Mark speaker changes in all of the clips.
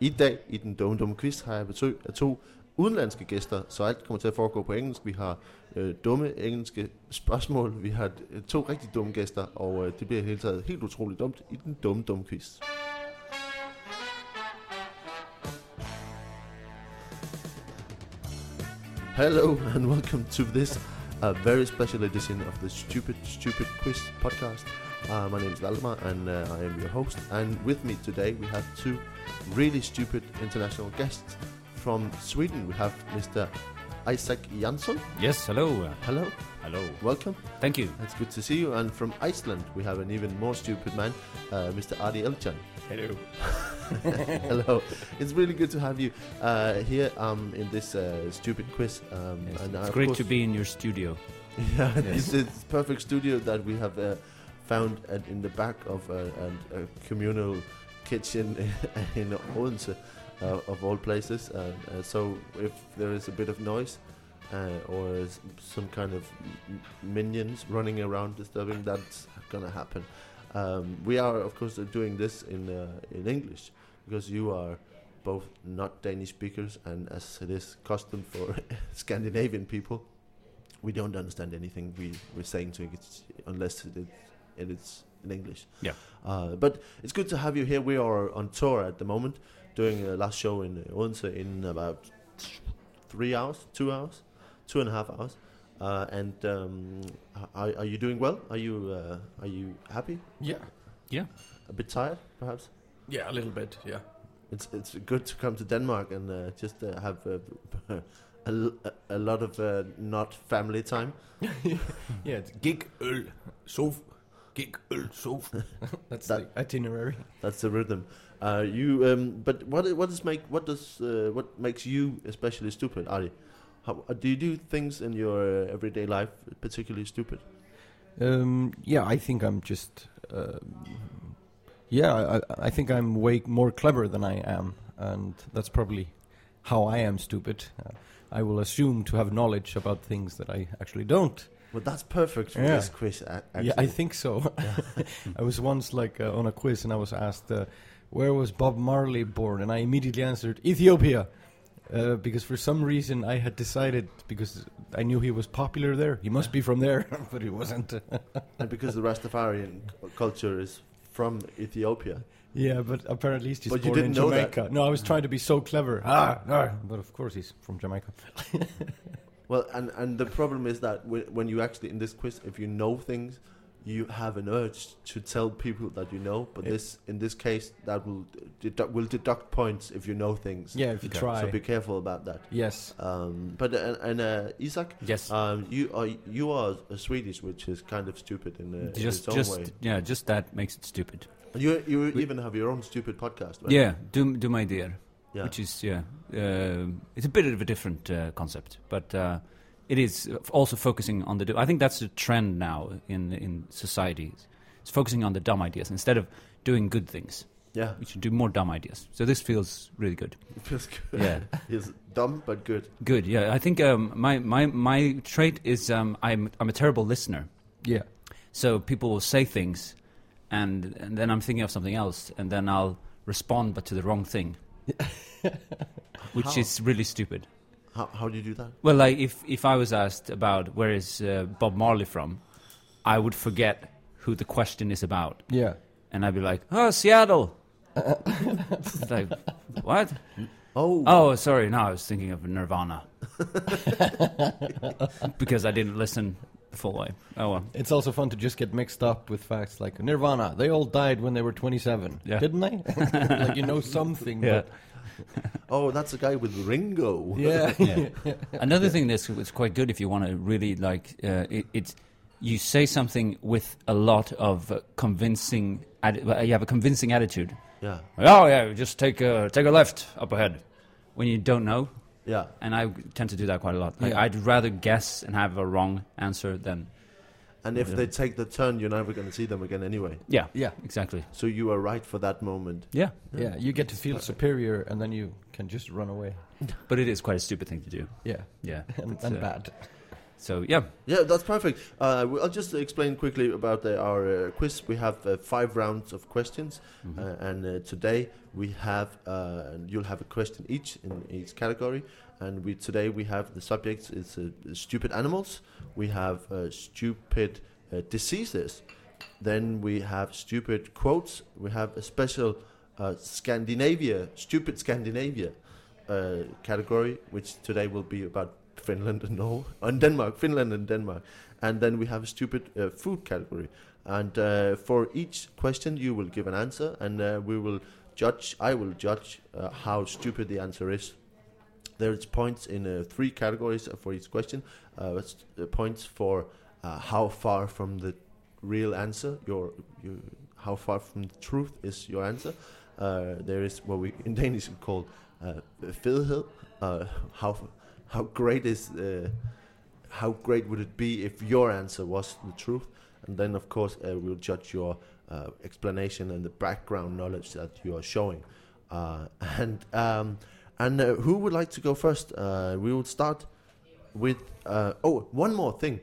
Speaker 1: I dag i den dumme dumme quiz har jeg besøg af to udenlandske gæster, så alt kommer til at foregå på engelsk. Vi har øh, dumme engelske spørgsmål, vi har øh, to rigtig dumme gæster, og øh, det bliver i hele taget helt utroligt dumt i den dumme dumme quiz. Hello and welcome to this uh, very special edition of the Stupid Stupid Quiz podcast. Uh, my name is Valdemar and uh, I am your host. And with me today we have two really stupid international guests from Sweden. We have Mr. Isaac Jansson.
Speaker 2: Yes, hello. uh,
Speaker 1: Hello,
Speaker 2: Hello.
Speaker 1: welcome.
Speaker 2: Thank you.
Speaker 1: It's good to see you. And from Iceland we have an even more stupid man, uh, Mr. Adi Elchan.
Speaker 3: Hello.
Speaker 1: Hello. It's really good to have you uh, here um, in this uh, stupid quiz. Um,
Speaker 2: Yes,
Speaker 1: and, uh,
Speaker 2: it's
Speaker 1: of
Speaker 2: great
Speaker 1: course-
Speaker 2: to be in your studio.
Speaker 1: Yeah,
Speaker 2: Yes.
Speaker 1: this is perfect studio that we have uh, found at, in the back of uh, an, a communal kitchen in Odense, uh, of all places. Uh, uh, so if there is a bit of noise uh, or s- some kind of m- minions running around disturbing, that's gonna happen. Um, we are, of course, uh, doing this in uh, in English because you are both not Danish speakers, and as it is custom for Scandinavian people, we don't understand anything we we're saying to it unless it, it it's in English.
Speaker 2: Yeah.
Speaker 1: Uh, but it's good to have you here. We are on tour at the moment, doing a last show in Odense in about three hours, two hours, two and a half hours. Uh, and um, are, are you doing well? Are you uh, are you happy?
Speaker 3: Yeah.
Speaker 1: A bit tired, perhaps.
Speaker 3: Yeah, a little bit. Yeah.
Speaker 1: It's it's good to come to Denmark and uh, just uh, have uh, a, l- a lot of uh, not family time.
Speaker 3: yeah, it's gig öl sof. Gig öl sof. That's
Speaker 1: That-
Speaker 3: the itinerary.
Speaker 1: That's the rhythm. Uh, you, um, but what i- what does make what does uh, what makes you especially stupid, Ari? How, uh, do you do things in your uh, everyday life particularly stupid?
Speaker 4: Um, yeah, I think I'm just. Uh, yeah, I, I- I think I'm way more clever than I am, and that's probably how I am stupid. Uh, I will assume to have knowledge about things that I actually don't.
Speaker 1: Well, that's perfect for
Speaker 4: Yeah.
Speaker 1: this quiz. a- Actually.
Speaker 4: Yeah, I think so. I was once like uh, on a quiz, and I was asked, uh, "Where was Bob Marley born?" And I immediately answered, "Ethiopia." Uh, because for some reason I had decided, because I knew he was popular there, he must be from there, but he wasn't.
Speaker 1: and because the Rastafarian c- culture is from Ethiopia,
Speaker 4: Yeah, but apparently he's just
Speaker 1: But you
Speaker 4: born
Speaker 1: didn't
Speaker 4: in
Speaker 1: know that.
Speaker 4: Jamaica. No, I was trying to be so clever. Ah, no. But of course he's from Jamaica.
Speaker 1: well, and and the problem is that whe- when you actually in this quiz, if you know things, you have an urge to tell people that you know. But
Speaker 4: Yeah.
Speaker 1: this in this case, that will uh, dedu- will deduct points if you know things.
Speaker 4: Yeah, if you
Speaker 2: Okay.
Speaker 4: try.
Speaker 1: So be careful about that.
Speaker 4: yes.
Speaker 1: Um, but uh, and uh, Isaac,
Speaker 2: Yes.
Speaker 1: um, you are you are a Swedish, which is kind of stupid in, a, in
Speaker 2: just
Speaker 1: its own
Speaker 2: just
Speaker 1: way.
Speaker 2: yeah, just that makes it stupid.
Speaker 1: You you
Speaker 2: we-
Speaker 1: even have your own stupid podcast. Right?
Speaker 2: Yeah, do do my dear,
Speaker 1: yeah.
Speaker 2: which is yeah, um it's a bit of a different uh, concept, but uh, it is also focusing on the. du- I think that's the trend now in in society. It's focusing on the dumb ideas instead of doing good things.
Speaker 1: yeah,
Speaker 2: We should do more dumb ideas. So this feels really good.
Speaker 1: it feels good.
Speaker 2: Yeah.
Speaker 1: it's dumb but good.
Speaker 2: Good. Yeah, I think um, my my my trait is um, I'm I'm a terrible listener.
Speaker 4: Yeah.
Speaker 2: So people will say things, and, and then I'm thinking of something else, and then I'll respond but to the wrong thing, which
Speaker 1: How?
Speaker 2: is really stupid.
Speaker 1: How how do you do that?
Speaker 2: Well, like if if I was asked about where is uh, Bob Marley from, I would forget who the question is about,
Speaker 4: Yeah.
Speaker 2: and I'd be like, oh, Seattle. It's like what?
Speaker 1: Oh,
Speaker 2: Oh, sorry. No, I was thinking of Nirvana because I didn't listen the full way. Oh well.
Speaker 4: It's also fun to just get mixed up with facts like Nirvana. They all died when they were 27.
Speaker 2: Yeah.
Speaker 4: Didn't they? like you know something.
Speaker 2: Yeah.
Speaker 1: oh, that's a guy with Ringo.
Speaker 4: But yeah. yeah.
Speaker 2: Another thing that's it's quite good if you want to really like uh, it, it's you say something with a lot of uh, convincing. Adi- uh, you have a convincing attitude.
Speaker 1: yeah,
Speaker 2: Oh yeah, just take a take a left up ahead when you don't know.
Speaker 1: yeah.
Speaker 2: And I tend to do that quite a lot. Like
Speaker 4: Yeah.
Speaker 2: I'd rather guess and have a wrong answer than
Speaker 1: And if they take the turn, you're never going to see them again anyway.
Speaker 2: yeah
Speaker 4: Yeah.
Speaker 2: exactly
Speaker 1: So you are right for that moment.
Speaker 2: yeah.
Speaker 4: You get to feel superior and then you can just run away.
Speaker 2: But it is quite a stupid thing to do.
Speaker 4: Yeah.
Speaker 2: Yeah,
Speaker 4: And,
Speaker 2: It's,
Speaker 4: and
Speaker 2: uh,
Speaker 4: bad.
Speaker 2: So yeah,
Speaker 1: Yeah, that's perfect. Uh, we- I'll just explain quickly about the, our uh, quiz. We have uh, five rounds of questions, uh, and uh, today we have uh, and you'll have a question each in each category. And we today we have the subjects is uh, stupid animals. We have uh, stupid uh, diseases. Then we have stupid quotes. We have a special uh, Scandinavia, stupid Scandinavia uh, category, which today will be about Finland and Norway, and Denmark, Finland and Denmark. And then we have a stupid uh, food category. And uh, for each question, you will give an answer, and uh, we will judge, I will judge uh, how stupid the answer is. There's points in uh, three categories for each question. Uh, it's, uh, points for uh, how far from the real answer your you, how far from the truth is your answer. Uh, there is what we in Danish call uh, fedhed. Uh, how how great is uh, how great would it be if your answer was the truth? And then of course uh, we'll judge your uh, explanation and the background knowledge that you are showing. Uh, and um, and uh, who would like to go first? Uh, we will start with uh, oh one more thing,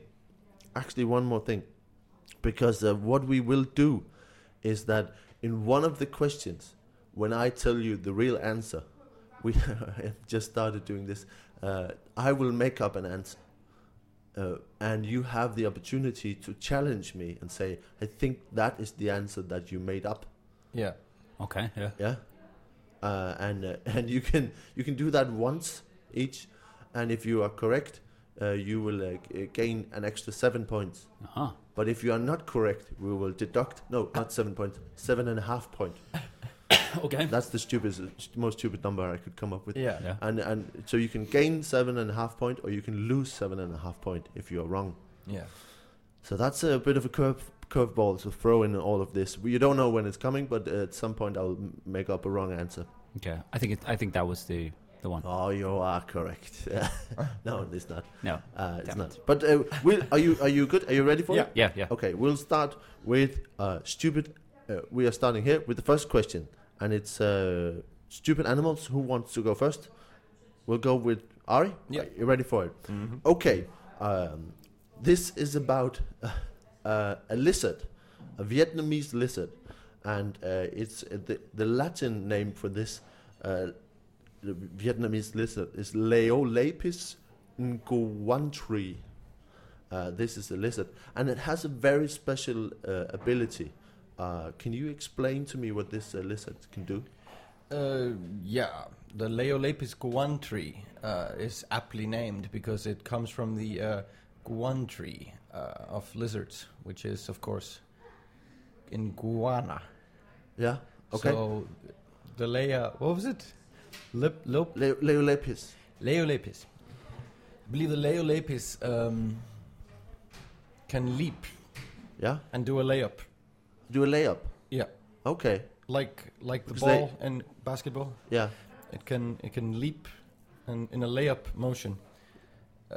Speaker 1: actually one more thing, because uh, what we will do is that in one of the questions, when I tell you the real answer, we I just started doing this. Uh, I will make up an answer, uh, and you have the opportunity to challenge me and say, "I think that is the answer that you made up."
Speaker 4: Yeah.
Speaker 2: okay, yeah.
Speaker 1: Yeah, uh, and uh, and you can you can do that once each, and if you are correct, uh, you will uh, g- gain an extra seven points.
Speaker 2: Uh-huh.
Speaker 1: But if you are not correct, we will deduct no, not seven points, seven and a half point.
Speaker 2: Okay.
Speaker 1: That's the stupidest, most stupid number I could come up with.
Speaker 4: Yeah.
Speaker 2: Yeah.
Speaker 1: And and so you can gain seven and a half point, or you can lose seven and a half point if you are wrong.
Speaker 4: Yeah.
Speaker 1: So that's a bit of a curve curveball to throw in all of this. We- You don't know when it's coming, but uh, at some point I'll m- make up a wrong answer.
Speaker 2: Okay. I think it, I think that was the the one.
Speaker 1: Oh, you are correct. no, it's not.
Speaker 2: No.
Speaker 1: Uh, it's
Speaker 2: Damn
Speaker 1: not. But uh, will, are you are you good? Are you ready for
Speaker 4: Yeah.
Speaker 1: it?
Speaker 2: Yeah. Yeah.
Speaker 1: Okay, we'll start with uh, stupid. Uh, we are starting here with the first question, and it's uh, stupid animals. Who wants to go first? We'll go with Ari.
Speaker 4: Yeah.
Speaker 1: Are you ready for it? Okay, um, this is about uh, uh, a lizard, a Vietnamese lizard, and uh, it's uh, the the Latin name for this uh, the Vietnamese lizard is Leolapis nguantri. Uh, this is a lizard, and it has a very special uh, ability. Uh, can you explain to me what this uh, lizard can do?
Speaker 4: Uh, yeah, the Leolepis guan tree uh, is aptly named because it comes from the uh, guan tree uh, of lizards, which is, of course, in Guana.
Speaker 1: Yeah. Okay.
Speaker 4: So the Lea, what was it? Lip, lop,
Speaker 1: Le- Leolapis.
Speaker 4: Leolepis. I believe the Leolepis um, can leap
Speaker 1: Yeah.
Speaker 4: and do a layup.
Speaker 1: Do a layup.
Speaker 4: Yeah,
Speaker 1: Okay.
Speaker 4: like like the
Speaker 1: Because they-
Speaker 4: ball in basketball.
Speaker 1: Yeah.
Speaker 4: It can it can leap and in a layup motion, uh,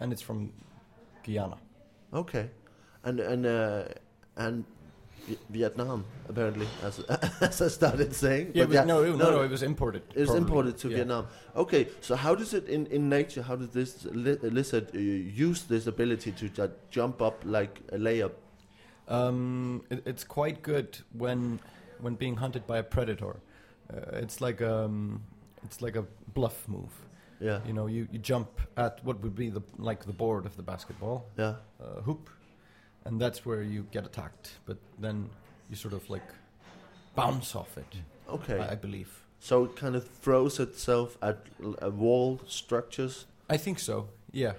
Speaker 4: and it's from Guyana.
Speaker 1: Okay. And and uh, and Vi- Vietnam apparently, as as I started saying.
Speaker 4: Yeah,
Speaker 1: But
Speaker 4: but no, it- no, no, it was imported.
Speaker 1: It's
Speaker 4: probably.
Speaker 1: imported to
Speaker 4: Yeah.
Speaker 1: Vietnam. Okay, so how does it in, in nature? How does this li- lizard uh, use this ability to ju- jump up like a layup?
Speaker 4: Um, it, it's quite good when when being hunted by a predator. Uh, it's like um, it's like a bluff move.
Speaker 1: Yeah,
Speaker 4: You know, you, you jump at what would be the like the board of the basketball
Speaker 1: yeah.
Speaker 4: uh, hoop, and that's where you get attacked. But then you sort of like bounce off it.
Speaker 1: Okay,
Speaker 4: I, I believe.
Speaker 1: so it kind of throws itself at l- uh, wall structures.
Speaker 4: I think so. Yeah.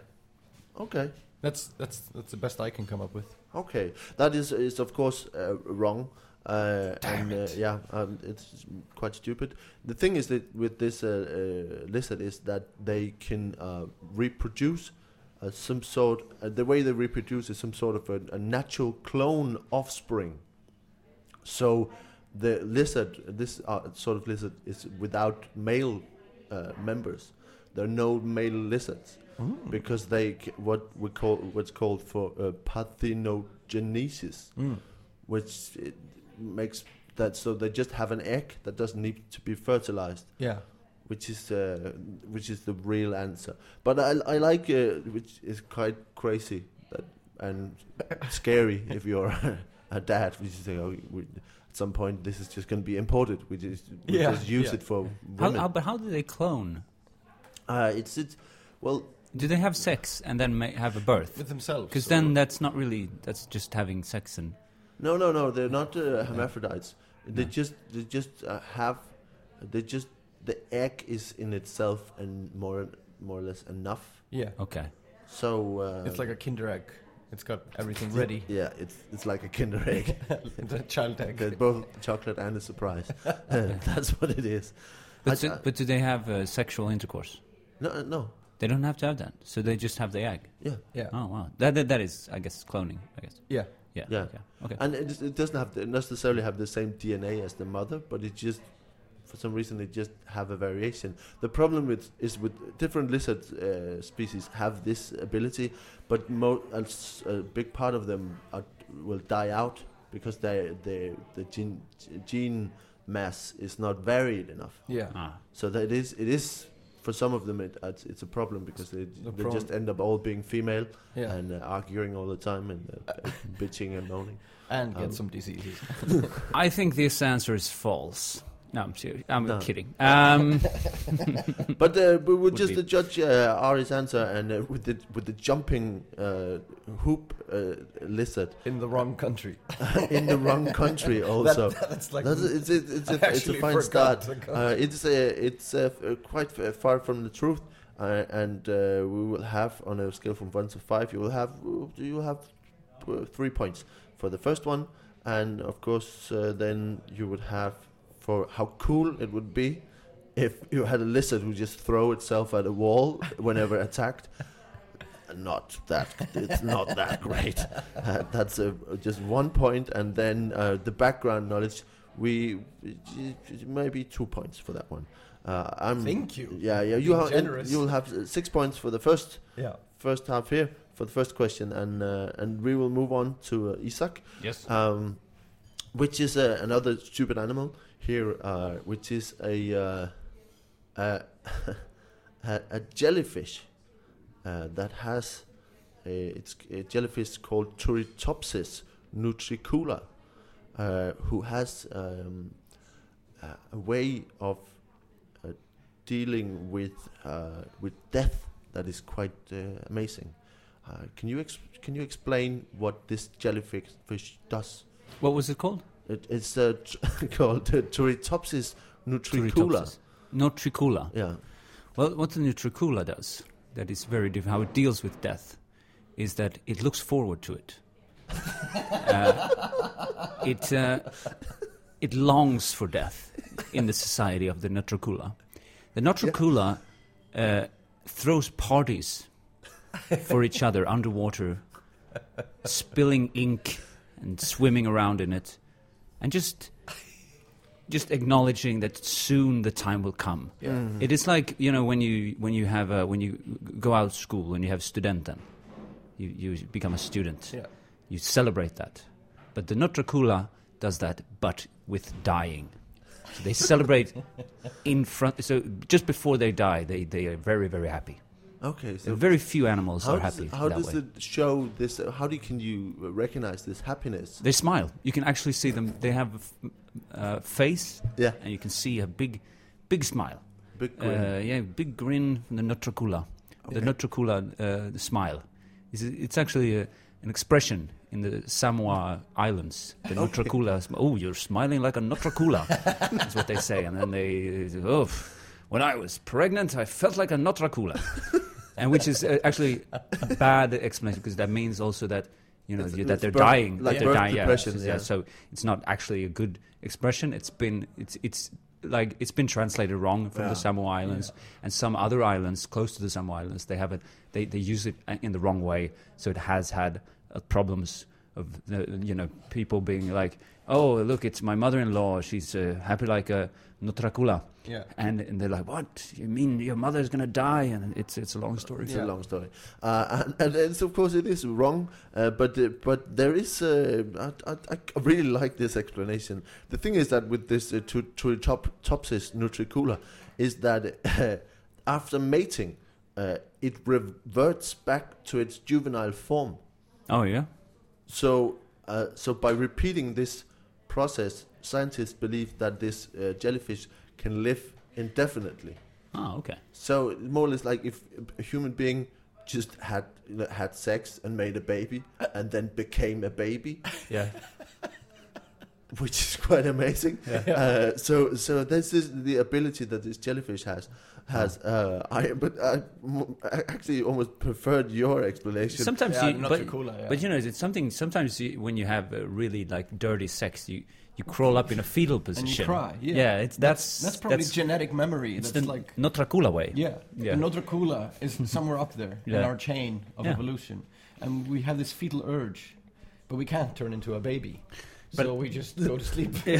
Speaker 1: Okay,
Speaker 4: That's that's that's the best I can come up with.
Speaker 1: okay. That is is of course uh, wrong. Uh,
Speaker 4: Damn
Speaker 1: and uh,
Speaker 4: it.
Speaker 1: yeah, um, it's quite stupid. The thing is that with this uh, uh, lizard is that they can uh, reproduce uh, some sort. Uh, the way they reproduce is some sort of a, a natural clone offspring. So the lizard, this uh, sort of lizard, is without male uh, members. There are no male lizards because they c- what we call what's called for uh, parthenogenesis,
Speaker 4: Mm.
Speaker 1: which it makes that so they just have an egg that doesn't need to be fertilized.
Speaker 4: Yeah.
Speaker 1: which is uh, which is the real answer. But I, I like uh, which is quite crazy that, and scary if you're a dad, which is like, oh, we, at some point this is just going to be imported. We just we
Speaker 4: Yeah,
Speaker 1: just use
Speaker 4: yeah.
Speaker 1: it for
Speaker 2: How,
Speaker 1: women.
Speaker 2: how, but how do they clone?
Speaker 1: uh, it's it's well
Speaker 2: Do they have sex and then ma- have a birth?
Speaker 4: with themselves.
Speaker 2: Because
Speaker 4: or-
Speaker 2: then that's not really. That's just having sex and.
Speaker 1: no no no they're not uh, hermaphrodites. They just they just uh, have they just the egg is in itself and more more or less enough.
Speaker 4: yeah,
Speaker 2: Okay.
Speaker 1: So uh,
Speaker 4: it's like a Kinder egg. It's got everything
Speaker 1: Yeah,
Speaker 4: ready.
Speaker 1: Yeah, it's it's like a Kinder egg.
Speaker 4: it's a child
Speaker 1: They're
Speaker 4: egg.
Speaker 1: both chocolate and a surprise. That's what it is.
Speaker 2: But,
Speaker 1: I-
Speaker 2: so-
Speaker 1: I-
Speaker 2: but do they have uh, sexual intercourse?
Speaker 1: No, uh, no.
Speaker 2: They don't have to have that. So they just have the egg.
Speaker 1: Yeah,
Speaker 4: Yeah,
Speaker 2: Oh, wow. That, that, that is, I guess, cloning, I guess.
Speaker 4: yeah.
Speaker 2: Yeah.
Speaker 1: Yeah.
Speaker 2: Okay. okay.
Speaker 1: and it, it doesn't have to necessarily have the same DNA as the mother, but it just for some reason they just have a variation. The problem with is with different lizard uh, species have this ability, but mo- a, s- a big part of them are, will die out because they they the gene gene mass is not varied enough.
Speaker 4: Yeah.
Speaker 2: Ah.
Speaker 1: So that it is it is for some of them it, it's it's a problem because they
Speaker 4: The
Speaker 1: they
Speaker 4: problem-
Speaker 1: just end up all being female
Speaker 4: Yeah.
Speaker 1: and uh, arguing all the time and uh, bitching and moaning.
Speaker 4: And get
Speaker 1: Um,
Speaker 4: some diseases.
Speaker 2: I think this answer is false. No, I'm serious. I'm
Speaker 1: No.
Speaker 2: kidding. Um,
Speaker 1: But uh, we would
Speaker 2: Would
Speaker 1: just
Speaker 2: be-
Speaker 1: uh, judge uh, Ari's answer and uh, with the with the jumping uh, hoop uh, lizard
Speaker 4: In the wrong country.
Speaker 1: in the wrong country also.
Speaker 4: That's like
Speaker 1: That's a- it's, a- it's,
Speaker 4: I
Speaker 1: a, it's a
Speaker 4: actually
Speaker 1: fine
Speaker 4: forgot
Speaker 1: start.
Speaker 4: the country.
Speaker 1: Uh, it's uh, it's uh, f- uh, quite f- far from the truth, uh, and uh, we will have on a scale from one to five. You will have you will have uh, three points for the first one, and of course uh, then you would have for how cool it would be if you had a lizard who just throw itself at a wall whenever attacked. Not that it's not that great. Uh, that's uh just one point, and then uh, the background knowledge. We maybe two points for that one. Uh, I'm
Speaker 4: Thank you.
Speaker 1: Yeah, yeah. You
Speaker 4: Being
Speaker 1: have, and
Speaker 4: generous.
Speaker 1: you'll have uh, six points for the first
Speaker 4: yeah.
Speaker 1: first half here for the first question, and uh, and we will move on to uh, Isak,
Speaker 2: yes.
Speaker 1: um, which is uh, another stupid animal here, uh, which is a uh, a, a, a jellyfish uh, that has a, it's a jellyfish called Turritopsis nutricula, uh, who has um, a- a way of uh, dealing with uh, with death that is quite uh, amazing. Uh, can you ex- can you explain what this jellyfish fish does?
Speaker 2: What was it called?
Speaker 1: It, it's uh, t- called uh, Turritopsis nutricula.
Speaker 2: Turritopsis. Notricula.
Speaker 1: Yeah,
Speaker 2: Well, what the Nutricula does that is very different, how it deals with death, is that it looks forward to it. uh, it, uh, it longs for death in the society of the Nutricula. The Nutricula uh, throws parties for each other underwater, spilling ink and swimming around in it, and just just acknowledging that soon the time will come. It is like you know when you when you have a, when you go out of school and you have studenten, you you become a student.
Speaker 4: Yeah.
Speaker 2: You celebrate that, but the Notrakula does that, but with dying. So they celebrate in front. So just before they die, they they are very very happy.
Speaker 1: Okay,
Speaker 2: So
Speaker 1: so
Speaker 2: very few animals
Speaker 1: how
Speaker 2: are
Speaker 1: does,
Speaker 2: happy
Speaker 1: how
Speaker 2: that
Speaker 1: does
Speaker 2: way.
Speaker 1: it show this? Uh, how do you, can you uh, recognize this happiness?
Speaker 2: They smile. You can actually see them. They have a f- uh, face,
Speaker 1: Yeah,
Speaker 2: and you can see a big, big smile.
Speaker 1: big grin.
Speaker 2: Uh, yeah, big grin from the Notracula. The
Speaker 1: Okay.
Speaker 2: Notracula uh, the smile. It's, it's actually a, an expression in the Samoa Islands. The Notracula. sm- Oh, you're smiling like a Notracula. is what they say. And then they, oh, when I was pregnant, I felt like a Notracula. and which is uh, actually a bad explanation because that means also that. You know
Speaker 1: It's-
Speaker 2: you-
Speaker 1: it's
Speaker 2: that they're
Speaker 1: birth-
Speaker 2: dying,
Speaker 1: like
Speaker 2: that they're
Speaker 1: birth
Speaker 2: dying. yeah.
Speaker 1: depression,
Speaker 2: So-
Speaker 1: yeah.
Speaker 2: so it's not actually a good expression. It's been it's it's like it's been translated wrong from the
Speaker 1: Yeah.
Speaker 2: Samoa Islands and some other islands close to the Samoa Islands. They have it they, they use it in the wrong way, so it has had uh, problems of the, you know people being like, oh look, it's my mother-in-law. She's uh, happy like a Notracula.
Speaker 4: Yeah.
Speaker 2: And, and they're like, what? You mean your mother's gonna die? And it's it's a long story.
Speaker 1: It's
Speaker 4: Yeah.
Speaker 1: a long story, uh, and, and it's, of course it is wrong. Uh, but uh, but there is uh, I, I, I really like this explanation. The thing is that with this uh, tu- Turritopsis nutricula, is that uh, after mating, uh, it reverts back to its juvenile form.
Speaker 2: Oh yeah.
Speaker 1: So, uh, so by repeating this process, scientists believe that this uh, jellyfish can live indefinitely.
Speaker 2: Oh okay.
Speaker 1: So more or less like if a human being just had you know, had sex and made a baby and then became a baby,
Speaker 3: Yeah.
Speaker 1: which is quite amazing. Uh, so so this is the ability that this jellyfish has has. Uh, I but I, m- I actually almost preferred your explanation.
Speaker 2: Sometimes
Speaker 4: Yeah,
Speaker 2: you,
Speaker 4: not
Speaker 2: but,
Speaker 4: too cool, uh, yeah.
Speaker 2: but you know, it's something. Sometimes you, when you have uh, really like dirty sex, you you crawl up in a fetal position.
Speaker 4: cry, yeah.
Speaker 2: it's that's
Speaker 4: That's probably genetic memory.
Speaker 2: it's
Speaker 4: That's
Speaker 2: the
Speaker 4: like
Speaker 2: Notrakula way.
Speaker 4: yeah.
Speaker 2: Yeah.
Speaker 4: The Nodracula is somewhere up there in
Speaker 2: Yeah.
Speaker 4: our chain of
Speaker 2: Yeah.
Speaker 4: evolution, and we have this fetal urge, but we can't turn into a baby,
Speaker 2: But-
Speaker 4: so we just go to sleep.
Speaker 1: you,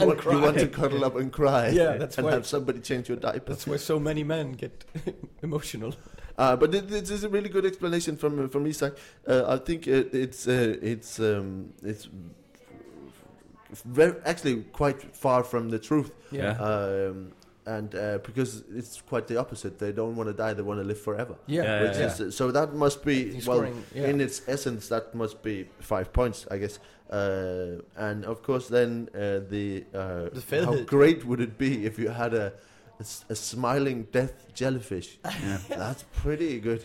Speaker 1: want, you want to cuddle up and cry.
Speaker 4: Yeah, that's
Speaker 1: and
Speaker 4: why-
Speaker 1: have somebody change your diaper.
Speaker 4: That's why so many men get emotional.
Speaker 1: Uh, but it, it is a really good explanation from from Isaac. Uh, I think uh, it's uh, it's um, it's very actually quite far from the truth.
Speaker 2: Yeah.
Speaker 1: Um, and uh, because it's quite the opposite, they don't want to die; they want to live forever.
Speaker 4: Yeah,
Speaker 2: Yeah,
Speaker 1: Which
Speaker 2: yeah,
Speaker 1: is, uh, so that must be
Speaker 4: He's
Speaker 1: well
Speaker 4: scoring, yeah.
Speaker 1: in its essence that must be five points, I guess. Uh, and of course, then uh, the, uh,
Speaker 4: The fail
Speaker 1: how
Speaker 4: hit.
Speaker 1: great would it be if you had a a s- a smiling death jellyfish?
Speaker 2: Yeah.
Speaker 1: That's pretty good.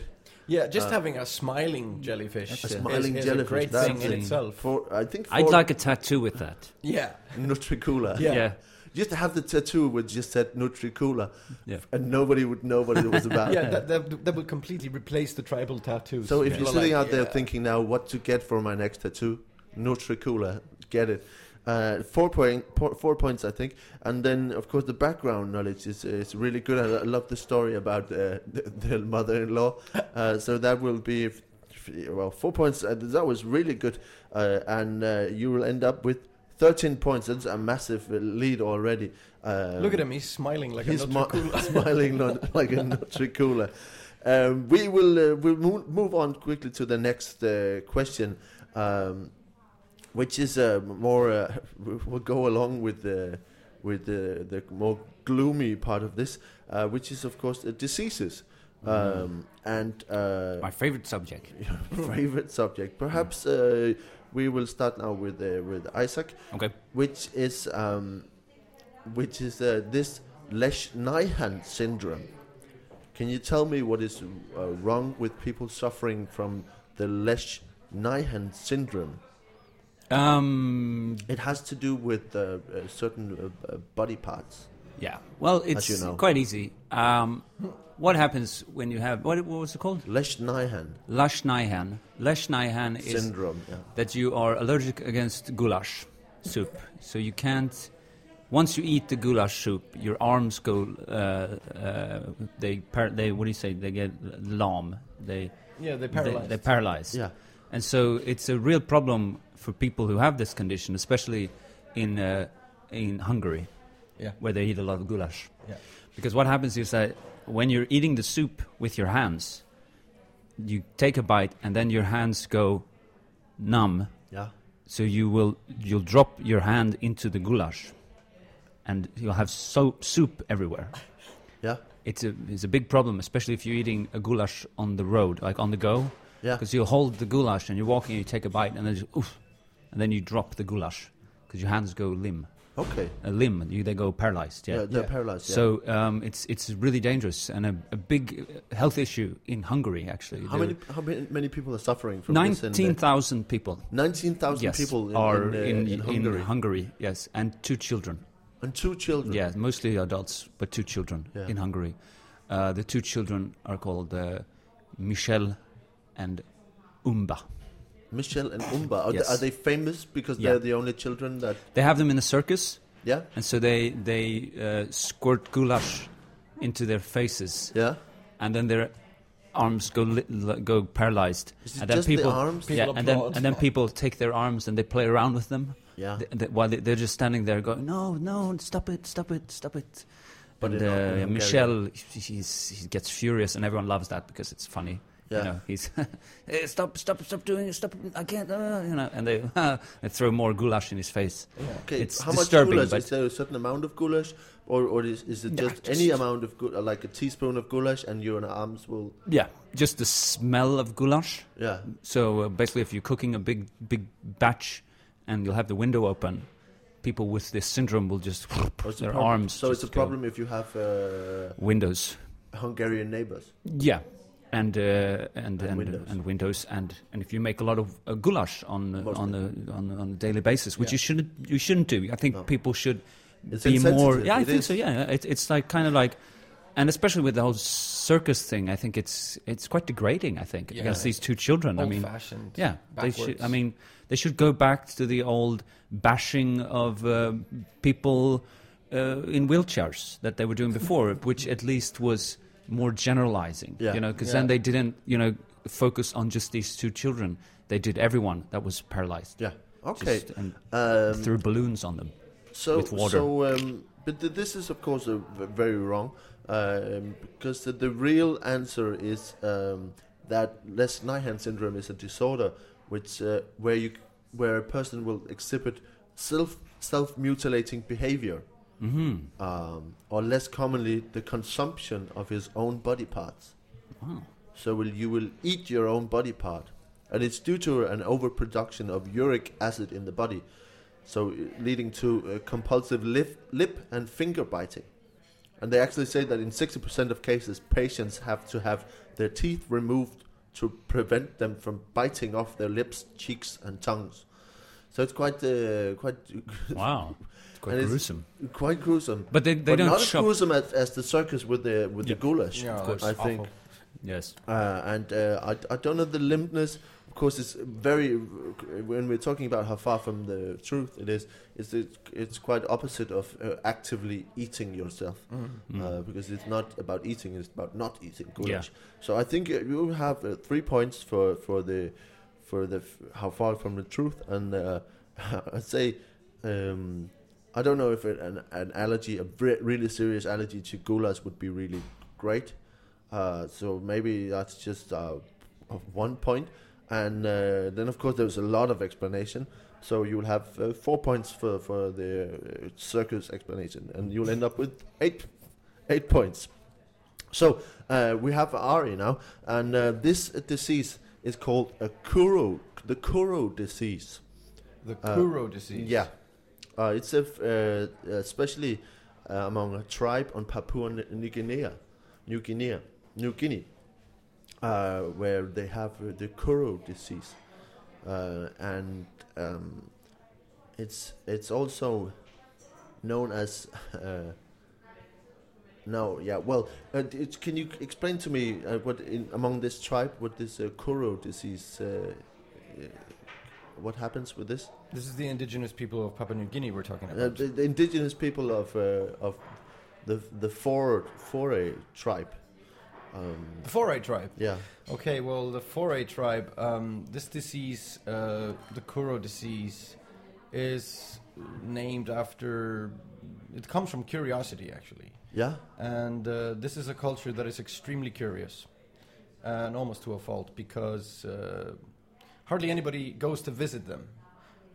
Speaker 4: yeah, just
Speaker 1: Uh,
Speaker 4: having a smiling jellyfish,
Speaker 1: A
Speaker 4: is-
Speaker 1: smiling
Speaker 4: is,
Speaker 1: jellyfish,
Speaker 4: a great
Speaker 1: that's
Speaker 4: thing in
Speaker 2: something.
Speaker 4: itself.
Speaker 1: For I think for
Speaker 2: I'd like a tattoo with that.
Speaker 4: Yeah,
Speaker 1: Nutricula.
Speaker 4: Yeah.
Speaker 2: yeah.
Speaker 1: Just have the tattoo which just said Nutricula,
Speaker 2: Yeah.
Speaker 1: and nobody would know what it was about.
Speaker 4: yeah, that, that, that would completely replace the tribal tattoos.
Speaker 1: Ah, So if
Speaker 4: People
Speaker 1: you're
Speaker 4: are
Speaker 1: sitting
Speaker 4: like,
Speaker 1: out there
Speaker 4: "Yeah."
Speaker 1: thinking now what to get for my next tattoo, Nutricula, get it. Uh, four point, po- four points, I think, and then of course the background knowledge is is really good. I, lo- love the story about uh, the, the mother-in-law. Uh, so that will be f- f- well four points. Uh, that was really good, uh, and uh, you will end up with thirteen points. That's a massive uh, lead already. Um,
Speaker 4: Look at him, he's smiling like
Speaker 1: He's
Speaker 4: a
Speaker 1: smi-
Speaker 4: Nodracula.
Speaker 1: smiling not, like a Nutricula. Um, we will uh, we'll move, move on quickly to the next uh, question, um, which is uh, more. Uh, we'll go along with the with the, the more gloomy part of this, uh, which is of course uh, diseases
Speaker 4: Mm-hmm.
Speaker 1: um, and uh,
Speaker 2: My favorite subject.
Speaker 1: favorite subject. Perhaps uh, we will start now with uh, with Isaac
Speaker 2: Okay.
Speaker 1: which is um, which is uh, this Lesh-Nyhan syndrome. Can you tell me what is uh, wrong with people suffering from the Lesh-Nyhan syndrome?
Speaker 2: Um,
Speaker 1: It has to do with uh, uh, certain uh, uh, body parts.
Speaker 2: yeah. Well, it's
Speaker 1: you know.
Speaker 2: quite easy. Um, what happens when you have what, what was it called?
Speaker 1: Lesh-Nyhan
Speaker 2: Lashnahan. Lashnahan is
Speaker 1: syndrome. Yeah.
Speaker 2: that you are allergic against goulash soup. So you can't. Once you eat the goulash soup, your arms go. Uh, uh, they, par- they. What do you say? They get lamb. They.
Speaker 4: Yeah,
Speaker 2: They,
Speaker 4: they paralyzed.
Speaker 2: they're paralyzed.
Speaker 1: Yeah.
Speaker 2: And so it's a real problem for people who have this condition, especially in uh, in Hungary,
Speaker 4: Yeah.
Speaker 2: where they eat a lot of goulash.
Speaker 4: Yeah.
Speaker 2: Because what happens is that when you're eating the soup with your hands, you take a bite and then your hands go numb
Speaker 1: Yeah.
Speaker 2: so you will you'll drop your hand into the goulash, and you'll have soap soup everywhere.
Speaker 1: Yeah.
Speaker 2: It's a it's a big problem, especially if you're eating a goulash on the road, like on the go,
Speaker 1: Yeah.
Speaker 2: because you'll hold the goulash and you're walking, and you take a bite, and then just, oof, and then you drop the goulash because your hands go limb,
Speaker 1: Okay.
Speaker 2: a limb. You they go paralyzed.
Speaker 1: Yeah,
Speaker 2: Yeah.
Speaker 1: they're
Speaker 4: Yeah.
Speaker 1: paralyzed. Yeah.
Speaker 2: So um, it's it's really dangerous and a, a big uh, health issue in Hungary actually.
Speaker 1: how many how many, many people are suffering from this? in the-
Speaker 2: Nineteen thousand people
Speaker 1: 19,000
Speaker 2: yes,
Speaker 1: people in,
Speaker 2: are
Speaker 1: in, uh, in, Hungary.
Speaker 2: yes, and two children.
Speaker 1: and two children.
Speaker 2: Yeah, mostly adults, but two children
Speaker 1: Yeah.
Speaker 2: in Hungary. Uh, the two children are called uh, Michel and Umba.
Speaker 1: Michelle and Umba. Are,
Speaker 2: Yes.
Speaker 1: they, are they famous because
Speaker 2: Yeah.
Speaker 1: they're the only children that.
Speaker 2: They have them in a circus,
Speaker 1: Yeah?
Speaker 2: and so they they uh, squirt goulash into their faces,
Speaker 1: Yeah?
Speaker 2: and then their arms go li- li- go paralyzed.
Speaker 1: Is it
Speaker 2: and
Speaker 1: just
Speaker 2: then people,
Speaker 1: the arms?
Speaker 2: yeah,
Speaker 4: People
Speaker 2: and then
Speaker 4: applaud.
Speaker 2: and then people take their arms and they play around with them.
Speaker 1: Yeah.
Speaker 2: Th- th- while they- they're just standing there going, no, no, stop it, stop it, stop it.
Speaker 1: But
Speaker 2: But
Speaker 1: in Hung- in
Speaker 2: uh,
Speaker 1: Hungarian.
Speaker 2: Michelle, he- he's, he gets furious, and everyone loves that because it's funny.
Speaker 1: Yeah.
Speaker 2: You know, he's "Hey, stop, stop, stop doing it, stop! I can't, uh, you know. And they, they throw more goulash in his face.
Speaker 1: Okay,
Speaker 2: It's
Speaker 1: how much
Speaker 2: disturbing,
Speaker 1: goulash?
Speaker 2: but-
Speaker 1: Is there a certain amount of goulash, or or is, is it
Speaker 2: Nah,
Speaker 1: just, any
Speaker 2: just-
Speaker 1: amount of goulash, like a teaspoon of goulash, and you're an arms will?
Speaker 2: Yeah, just the smell of goulash.
Speaker 1: Yeah,
Speaker 2: So uh, basically, if you're cooking a big, big batch, and you'll have the window open, people with this syndrome will just
Speaker 1: Or it's a
Speaker 2: their
Speaker 1: prob-
Speaker 2: arms.
Speaker 1: So it's a
Speaker 2: just go
Speaker 1: problem if you have uh,
Speaker 2: Windows.
Speaker 1: Hungarian neighbors.
Speaker 2: Yeah. And, uh, and, and
Speaker 1: windows.
Speaker 2: windows and windows and and if you make a lot of uh, goulash on uh,
Speaker 1: Mostly.
Speaker 2: on a on, a- on a daily basis, which
Speaker 4: Yeah.
Speaker 2: you shouldn't you shouldn't do. I think
Speaker 1: No.
Speaker 2: people should
Speaker 1: It's
Speaker 2: be more.
Speaker 1: insensitive.
Speaker 2: Yeah, I
Speaker 1: It
Speaker 2: think
Speaker 1: is.
Speaker 2: so. Yeah, it, it's like kind of like, and especially with the whole circus thing, I think it's it's quite degrading. I think
Speaker 4: Yeah.
Speaker 2: against these two children.
Speaker 1: Oh,
Speaker 2: I
Speaker 4: Old
Speaker 2: mean,
Speaker 4: fashioned.
Speaker 2: yeah, they should. I
Speaker 4: backwards.
Speaker 2: mean, they should go back to the old bashing of uh, people uh, in wheelchairs that they were doing before, which at least was more generalizing.
Speaker 1: Yeah.
Speaker 2: You know, because
Speaker 4: Yeah.
Speaker 2: then they didn't, you know, focus on just these two children. They did everyone that was paralyzed.
Speaker 1: Yeah. Okay.
Speaker 2: Just- and
Speaker 1: Um,
Speaker 2: threw balloons on them.
Speaker 1: so
Speaker 2: with water.
Speaker 1: so um, but th- this is of course a v- very wrong um, because the, the real answer is um, that Les Nyhan syndrome is a disorder which uh, where you c- where a person will exhibit self self mutilating behavior.
Speaker 2: hmm
Speaker 1: um, or less commonly the consumption of his own body parts.
Speaker 2: Wow.
Speaker 1: So will, you will eat your own body part, and it's due to an overproduction of uric acid in the body, so uh, leading to uh, compulsive lip, lip and finger biting. And they actually say that in 60% of cases, patients have to have their teeth removed to prevent them from biting off their lips, cheeks, and tongues. So it's quite, uh, quite,
Speaker 2: Wow. It's quite
Speaker 1: And it's-
Speaker 2: gruesome.
Speaker 1: quite gruesome
Speaker 2: But they, they
Speaker 1: but
Speaker 2: don't
Speaker 1: not
Speaker 2: shop.
Speaker 1: as gruesome as, as the circus with the with the
Speaker 2: Yeah.
Speaker 1: goulash.
Speaker 4: Yeah,
Speaker 2: course.
Speaker 1: I
Speaker 4: that's
Speaker 1: think,
Speaker 4: awful.
Speaker 2: yes.
Speaker 1: uh, and uh, I, I don't know the limpness. Of course, it's very when we're talking about how far from the truth it is. It's it's, it's quite opposite of uh, actively eating yourself uh, because it's not about eating; it's about not eating goulash. So I think uh, you have uh, three points for for the for the f- how far from the truth, and uh, I'd say um, I don't know if it, an an allergy, a re- really serious allergy to goulash, would be really great. Uh, so maybe that's just uh, of one point, and uh, then of course there's a lot of explanation. So you'll have uh, four points for for the uh, circus explanation, and you'll end up with eight eight points. So uh, we have Ari now, and uh, this disease is called a Kuro, the Kuro disease.
Speaker 4: The
Speaker 1: Uh,
Speaker 4: Kuro disease.
Speaker 1: Yeah, uh, it's a f- uh, especially uh, among a tribe on Papua N- New Guinea, New Guinea, New Guinea, uh, where they have uh, the Kuro disease, uh, and um, it's it's also known as. Uh, no, yeah, well, uh, d- it's, can you explain to me uh, what in, among this tribe, what this uh, Kuro disease, uh, uh, what happens with this?
Speaker 4: This is the indigenous people of Papua New Guinea we're talking
Speaker 1: Uh,
Speaker 4: about.
Speaker 1: the, the indigenous people of uh, of the the Fore Foray tribe. Um,
Speaker 4: the Foray tribe.
Speaker 1: yeah,
Speaker 4: Okay, well, the Foray tribe, um, this disease, uh, the Kuro disease, is named after. It comes from curiosity, actually.
Speaker 1: yeah,
Speaker 4: And uh, this is a culture that is extremely curious and almost to a fault because uh, hardly anybody goes to visit them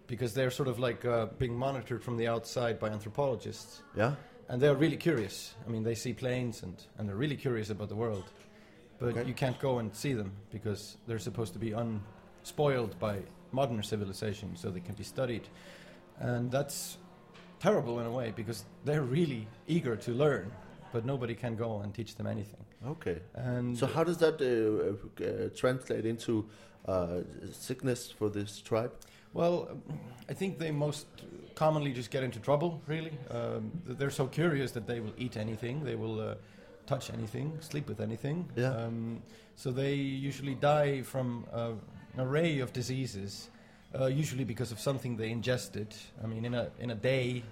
Speaker 4: because they're sort of like uh, being monitored from the outside by anthropologists
Speaker 1: yeah.
Speaker 4: and they're really curious. I mean, they see planes and, and they're really curious about the world, but
Speaker 1: Okay.
Speaker 4: you can't go and see them because they're supposed to be unspoiled by modern civilization, so they can be studied, and that's terrible in a way because they're really eager to learn, but nobody can go and teach them anything.
Speaker 1: Okay.
Speaker 4: And
Speaker 1: So how does that uh, uh, translate into uh, sickness for this tribe?
Speaker 4: Well, um, I think they most commonly just get into trouble, really. Um, th- they're so curious that they will eat anything, they will uh, touch anything, sleep with anything.
Speaker 1: Yeah.
Speaker 4: Um, so they usually die from uh, an array of diseases, uh, usually because of something they ingested. I mean, in a, in a day,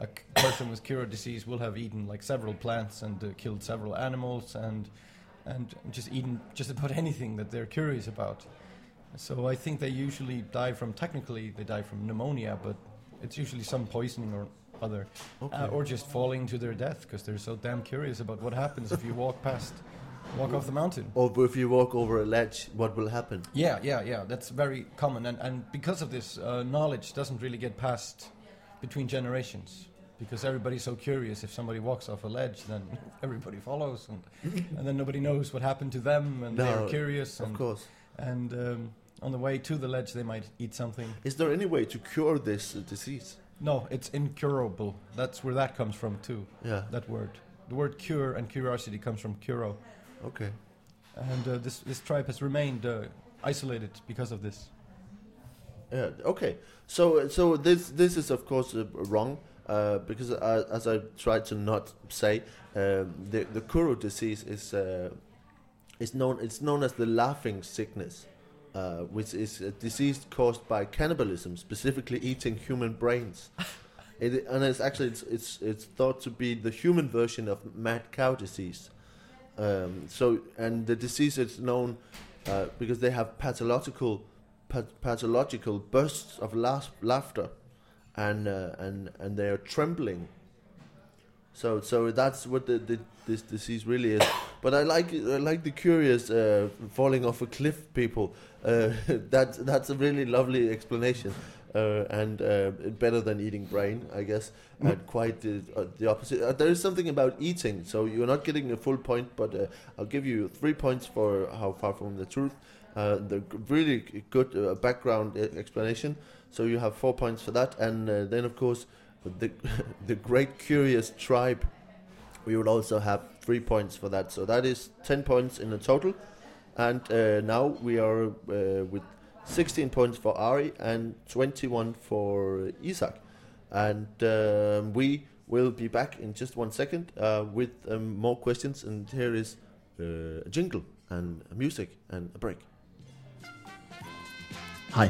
Speaker 4: a c- person with Kuro disease will have eaten like several plants and uh, killed several animals and and just eaten just about anything that they're curious about. So I think they usually die from technically they die from pneumonia, but it's usually some poisoning or other,
Speaker 1: Okay.
Speaker 4: uh, or just falling to their death because they're so damn curious about what happens if you walk past Walk off the mountain.
Speaker 1: Or if you walk over a ledge, what will happen?
Speaker 4: Yeah, yeah, yeah. That's very common, and and because of this, uh, knowledge doesn't really get passed between generations because everybody's so curious. If somebody walks off a ledge, then everybody follows, and and then nobody knows what happened to them, and
Speaker 1: No,
Speaker 4: they're curious.
Speaker 1: Of
Speaker 4: And,
Speaker 1: course.
Speaker 4: and um, on the way to the ledge, they might eat something.
Speaker 1: Is there any way to cure this uh, disease?
Speaker 4: No, it's incurable. That's where that comes from too.
Speaker 1: Yeah.
Speaker 4: That word. The word cure and curiosity comes from curo,
Speaker 1: Okay.
Speaker 4: and uh, this this tribe has remained uh, isolated because of this.
Speaker 1: Yeah. Okay. So so this this is of course uh, wrong uh, because uh, as I tried to not say, um, the the Kuru disease is uh, is known it's known as the laughing sickness, uh, which is a disease caused by cannibalism, specifically eating human brains. It, and it's actually it's, it's it's thought to be the human version of mad cow disease. Um, so and the disease is known uh, because they have pathological pat- pathological bursts of laugh- laughter, and uh, and and they are trembling. So so that's what the, the, this disease really is. But I like I like the curious uh, falling off a cliff people. Uh, that's that's a really lovely explanation. Uh, and uh, better than eating brain, I guess, and quite the, uh, the opposite. Uh, there is something about eating, so you're not getting a full point, but uh, I'll give you three points for how far from the truth. Uh, the g- really g- good uh, background uh, explanation, so you have four points for that, and uh, then of course the the great curious tribe. We will also have three points for that, so that is ten points in the total, and uh, now we are uh, with sixteen points for Ari and twenty-one for Isaac, and um, we will be back in just one second uh, with um, more questions, and here is uh, a jingle and music and a break.
Speaker 5: Hej.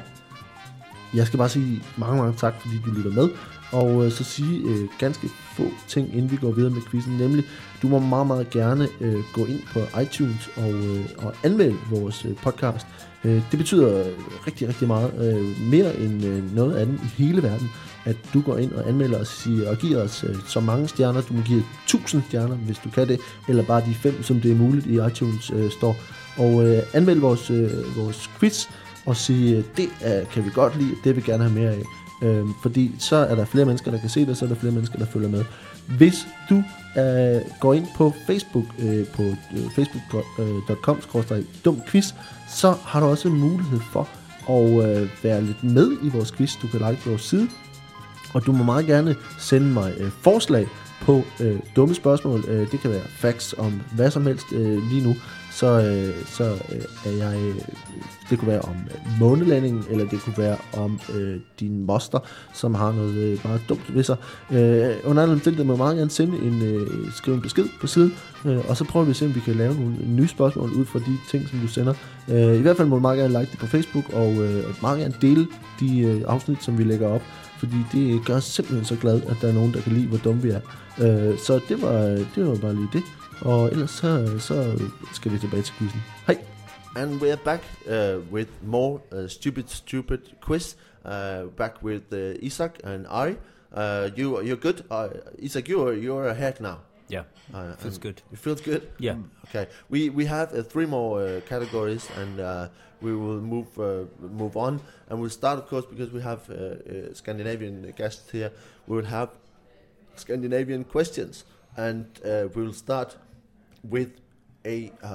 Speaker 5: Jeg skal bare sige mange, mange tak, fordi du lytter med. Og øh, så sige øh, ganske få ting, inden vi går videre med quizzen. Nemlig, du må meget, meget gerne øh, gå ind på iTunes og, øh, og anmelde vores øh, podcast. Øh, det betyder rigtig, rigtig meget. Øh, mere end øh, noget andet i hele verden, at du går ind og anmelder os siger, og giver os øh, så mange stjerner. Du må give 1000 stjerner, hvis du kan det. Eller bare de fem, som det er muligt i iTunes øh, Store. Og øh, anmeld vores, øh, vores quiz og sige, øh, det øh, kan vi godt lide, det vil vi gerne have mere af. Øh, fordi så er der flere mennesker, der kan se det, så er der flere mennesker, der følger med. Hvis du øh, går ind på Facebook, øh, på øh, facebook.com dumquiz, så har du også en mulighed for at øh, være lidt med i vores quiz. Du kan like vores side, og du må meget gerne sende mig øh, forslag på øh, dumme spørgsmål. Øh, det kan være facts om hvad som helst øh, lige nu. Så, øh, så øh, er jeg... Øh, det kunne være om øh, månelandingen, eller det kunne være om øh, din moster, som har noget øh, meget dumt ved sig. Øh, under alle omstændigheder må jeg meget gerne sende en, øh, skrive en besked på siden, øh, og så prøver vi at se, om vi kan lave nogle nye spørgsmål ud fra de ting, som du sender. Øh, I hvert fald må du meget gerne like det på Facebook, og øh, og meget gerne dele de øh, afsnit, som vi lægger op fordi det gør os simpelthen så glad, at der er nogen, der kan lide, hvor dumme vi er. Øh, så det var, det var bare lige det. Og ellers så, så skal vi tilbage til quizzen. Hej!
Speaker 1: And we're back uh, with more uh, stupid, stupid quiz. Uh, back with uh, Isaac and Ari. Uh, you you're good, uh, Isaac. You're you're ahead now.
Speaker 2: Yeah,
Speaker 1: Uh,
Speaker 2: feels
Speaker 1: and
Speaker 2: good.
Speaker 1: It feels good.
Speaker 2: Yeah.
Speaker 1: Okay. We we have uh, three more uh, categories, and uh, we will move uh, move on. And we'll start, of course, because we have uh, uh, Scandinavian guests here. We will have Scandinavian questions, and uh, we will start with a, uh,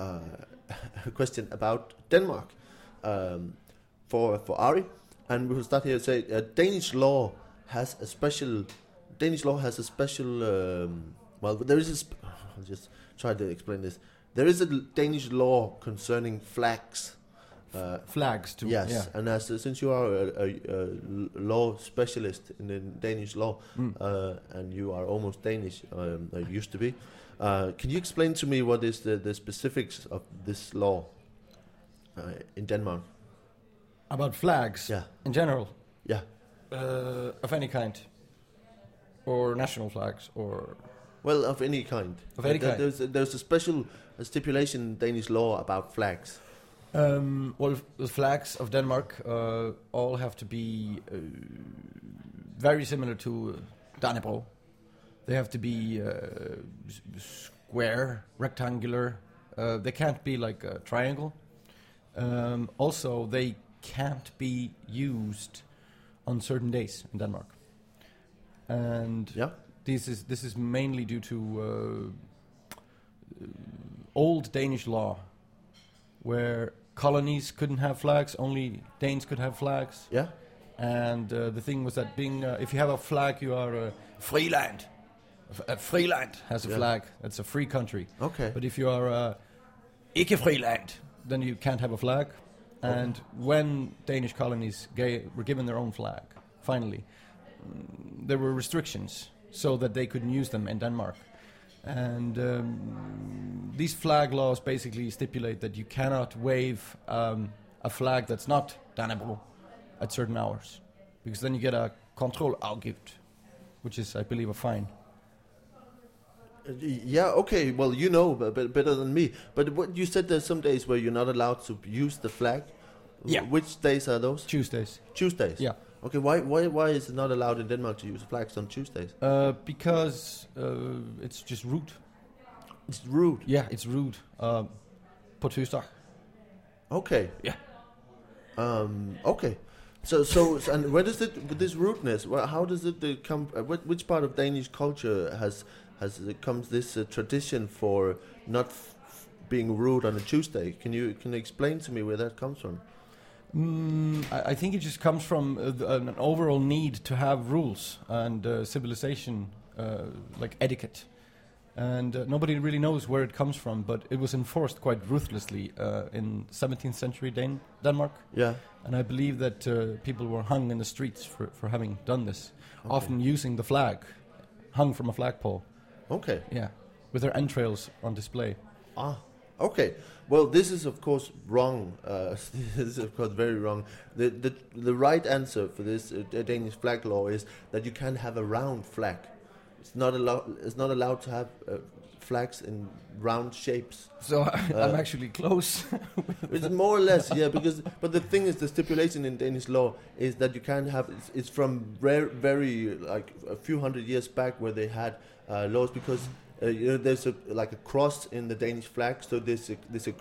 Speaker 1: a question about Denmark um, for for Ari, and we will start here. Say uh, Danish law has a special Danish law has a special um, well there is a sp- I'll just try to explain this. There is a l- Danish law concerning flags. Uh,
Speaker 4: Flags to
Speaker 1: yes,
Speaker 4: yeah.
Speaker 1: and as since you are a, a, a l- law specialist in the Danish law,
Speaker 4: Mm.
Speaker 1: uh, and you are almost Danish, um, or used to be. Uh, can you explain to me what is the, the specifics of this law uh, in Denmark?
Speaker 4: About flags
Speaker 1: Yeah,
Speaker 4: in general,
Speaker 1: yeah.
Speaker 4: uh, of any kind, or national flags, or
Speaker 1: Well, of any kind.
Speaker 4: Of any
Speaker 1: There-
Speaker 4: kind.
Speaker 1: There's a, there's a special uh, stipulation in Danish law about flags.
Speaker 4: um, well, f- the flags of Denmark uh, all have to be uh, very similar to uh, Dannebrog. They have to be uh, s- square, rectangular, uh, Uh, they can't be like a triangle. Um, also, they can't be used on certain days in Denmark. And
Speaker 1: Yeah.
Speaker 4: this is this is mainly due to uh, uh, old Danish law, where colonies couldn't have flags, only Danes could have flags.
Speaker 1: Yeah.
Speaker 4: And uh, the thing was that being, uh, if you have a flag, you are a Freeland. F- A Freeland has a
Speaker 1: Yeah.
Speaker 4: flag. That's a free country.
Speaker 1: Okay.
Speaker 4: But if you are a ikke Freeland, then you can't have a flag. And when Danish colonies ga- were given their own flag, finally, mm, there were restrictions so that they couldn't use them in Denmark. And um, these flag laws basically stipulate that you cannot wave um, a flag that's not Dannebrog at certain hours, because then you get a control outgift, which is, I believe, a fine.
Speaker 1: Uh, y- Yeah. Okay. Well, you know b- b- better than me. But what you said there's some days where you're not allowed to use the flag.
Speaker 4: Yeah.
Speaker 1: Which days are those?
Speaker 4: Tuesdays.
Speaker 1: Tuesdays.
Speaker 4: Yeah.
Speaker 1: Okay. Why? Why? Why is it not allowed in Denmark to use flags on Tuesdays?
Speaker 4: Uh, because uh, it's just rude.
Speaker 1: It's rude.
Speaker 4: Yeah, it's rude. Um, på tirsdag.
Speaker 1: Okay.
Speaker 3: Yeah.
Speaker 1: Um. Okay. So so so- and where does it with this rudeness? Well, how does it uh, come? Uh, wh- which part of Danish culture has has uh, comes this uh, tradition for not f- f- being rude on a Tuesday? Can you can you explain to me where that comes from?
Speaker 4: Mm, I, I think it just comes from uh, the, an, an overall need to have rules and uh, civilization, uh, like etiquette. And uh, nobody really knows where it comes from, but it was enforced quite ruthlessly uh, in 17th century Dan- Denmark.
Speaker 1: Yeah.
Speaker 4: And I believe that uh, people were hung in the streets for, for having done this, often using the flag, hung from a flagpole,
Speaker 1: Okay.
Speaker 4: yeah, with their entrails on display.
Speaker 1: Ah, okay. Well, this is of course wrong. Uh, this is of course very wrong. The the the right answer for this uh, D- Danish flag law is that you can't have a round flag. It's not allowed. It's not allowed to have uh, flags in round shapes.
Speaker 4: So I'm
Speaker 1: Uh,
Speaker 4: actually close.
Speaker 1: It's more or less yeah. Because but the thing is, the stipulation in Danish law is that you can't have. It's, it's from rare, very like a few hundred years back where they had uh, laws because. Uh, you know, there's a, like a cross in the Danish flag, so there's a, there's a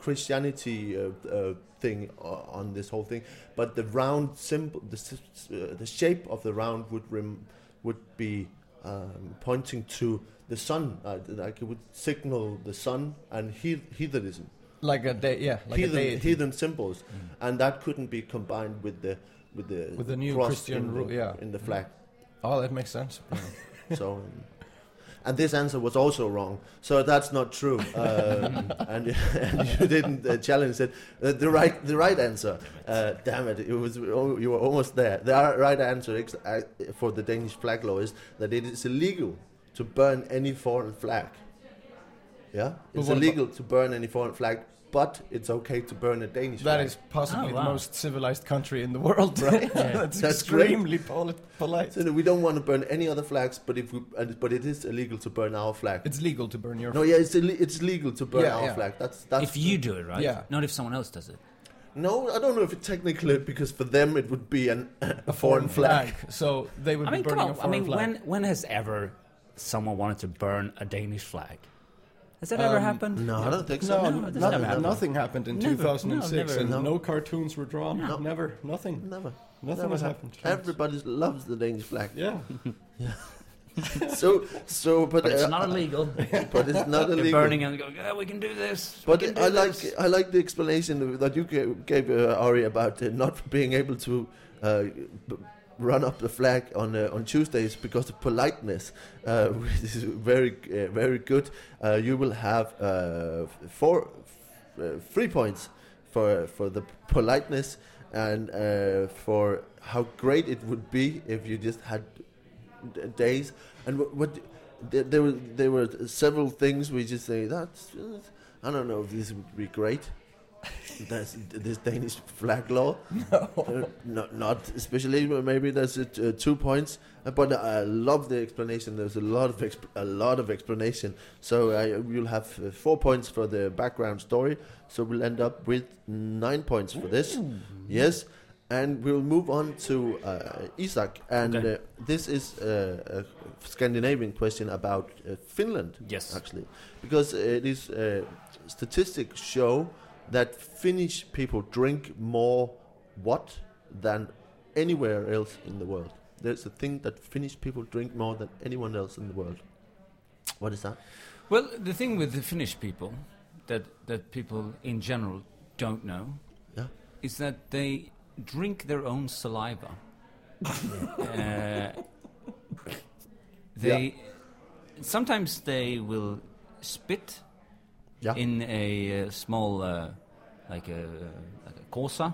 Speaker 1: Christianity uh, uh, thing o- on this whole thing. But the round symbol, the s- s- uh, the shape of the round would rem, would be um, pointing to the sun, uh, like it would signal the sun and he- heathenism
Speaker 4: like a day, yeah, like a
Speaker 1: heathen,
Speaker 4: day.
Speaker 1: heathen symbols, and that couldn't be combined with the with the
Speaker 4: With the new
Speaker 1: cross
Speaker 4: Christian
Speaker 1: in the,
Speaker 4: ru- yeah. Mm.
Speaker 1: in the flag.
Speaker 4: Oh, that makes sense.
Speaker 1: so, um, and this answer was also wrong. So that's not true, um, and, and you didn't uh, challenge it. Uh, the right the right answer. Uh, damn it! It was oh, you were almost there. The ar- right answer ex- uh, for the Danish flag law is that it is illegal to burn any foreign flag. Yeah,
Speaker 4: But
Speaker 1: it's
Speaker 4: what about-
Speaker 1: illegal to burn any foreign flag. But it's okay to burn a Danish flag.
Speaker 4: That is possibly
Speaker 2: Oh, wow.
Speaker 4: the most civilized country in the world.
Speaker 1: Right.
Speaker 4: That's,
Speaker 1: That's
Speaker 4: extremely poli- polite.
Speaker 1: So no, we don't want to burn any other flags, but if we, and, but it is illegal to burn our flag.
Speaker 4: It's legal to burn your.
Speaker 1: no, yeah, it's Ill- it's legal to burn
Speaker 4: Yeah,
Speaker 1: our
Speaker 4: yeah.
Speaker 1: flag. That's that's.
Speaker 2: if you do it, right?
Speaker 4: Yeah.
Speaker 2: Not if someone else does it.
Speaker 1: no, I don't know if it technically because for them it would be an a foreign flag.
Speaker 4: So they would
Speaker 2: I mean,
Speaker 4: be
Speaker 2: come
Speaker 4: burning a
Speaker 2: on. I
Speaker 4: foreign
Speaker 2: mean,
Speaker 4: flag.
Speaker 2: when when has ever someone wanted to burn a Danish flag? Has that ever
Speaker 4: Um,
Speaker 2: happened?
Speaker 1: No, I don't think so.
Speaker 4: no,
Speaker 2: No, it doesn't
Speaker 4: nothing,
Speaker 2: ever happen.
Speaker 4: nothing happened in
Speaker 2: Never.
Speaker 4: 2006,
Speaker 2: No,
Speaker 4: and
Speaker 1: never.
Speaker 4: no cartoons were drawn. Never, nothing.
Speaker 1: Never.
Speaker 4: Nothing
Speaker 1: never
Speaker 4: has
Speaker 1: happened.
Speaker 4: happened.
Speaker 1: Everybody loves the Danish flag.
Speaker 4: Yeah,
Speaker 1: So so, but,
Speaker 2: But it's
Speaker 1: uh,
Speaker 2: not illegal.
Speaker 1: But it's not
Speaker 2: They're
Speaker 1: illegal.
Speaker 2: burning and going, yeah, we can do this. we
Speaker 1: But
Speaker 2: can do
Speaker 1: I like
Speaker 2: this."
Speaker 1: I like the explanation that you gave, gave uh, Ari about uh, not being able to uh, b- run up the flag on uh, on Tuesdays because of politeness, uh, which is very uh, very good. Uh, you will have uh, f- four f- uh, three points for for the politeness and uh, for how great it would be if you just had d- days and what. what there, there were there were several things we just say that's uh, I don't know if this would be great. That's this Danish flag law. Uh, not, not especially. but Maybe there's uh, t- uh, two points. Uh, But I love the explanation. There's a lot of exp- a lot of explanation. So I, you'll have uh, four points for
Speaker 2: Mm-hmm.
Speaker 1: the background story. So we'll end up with nine points for this. Yes, And we'll move on to uh, Isak. And
Speaker 2: Okay.
Speaker 1: uh, this is uh, a Scandinavian question about uh, Finland,
Speaker 2: Yes.
Speaker 1: actually. Because it is uh, statistics show that Finnish people drink more what than anywhere else in the world. There's a thing that Finnish people drink more than anyone else in the world. What is that?
Speaker 2: Well, the thing with the Finnish people that that people in general don't know
Speaker 1: Yeah.
Speaker 2: is that they drink their own saliva. uh, they sometimes they will spit
Speaker 1: Yeah.
Speaker 2: in a uh, small uh, like a like a corsa.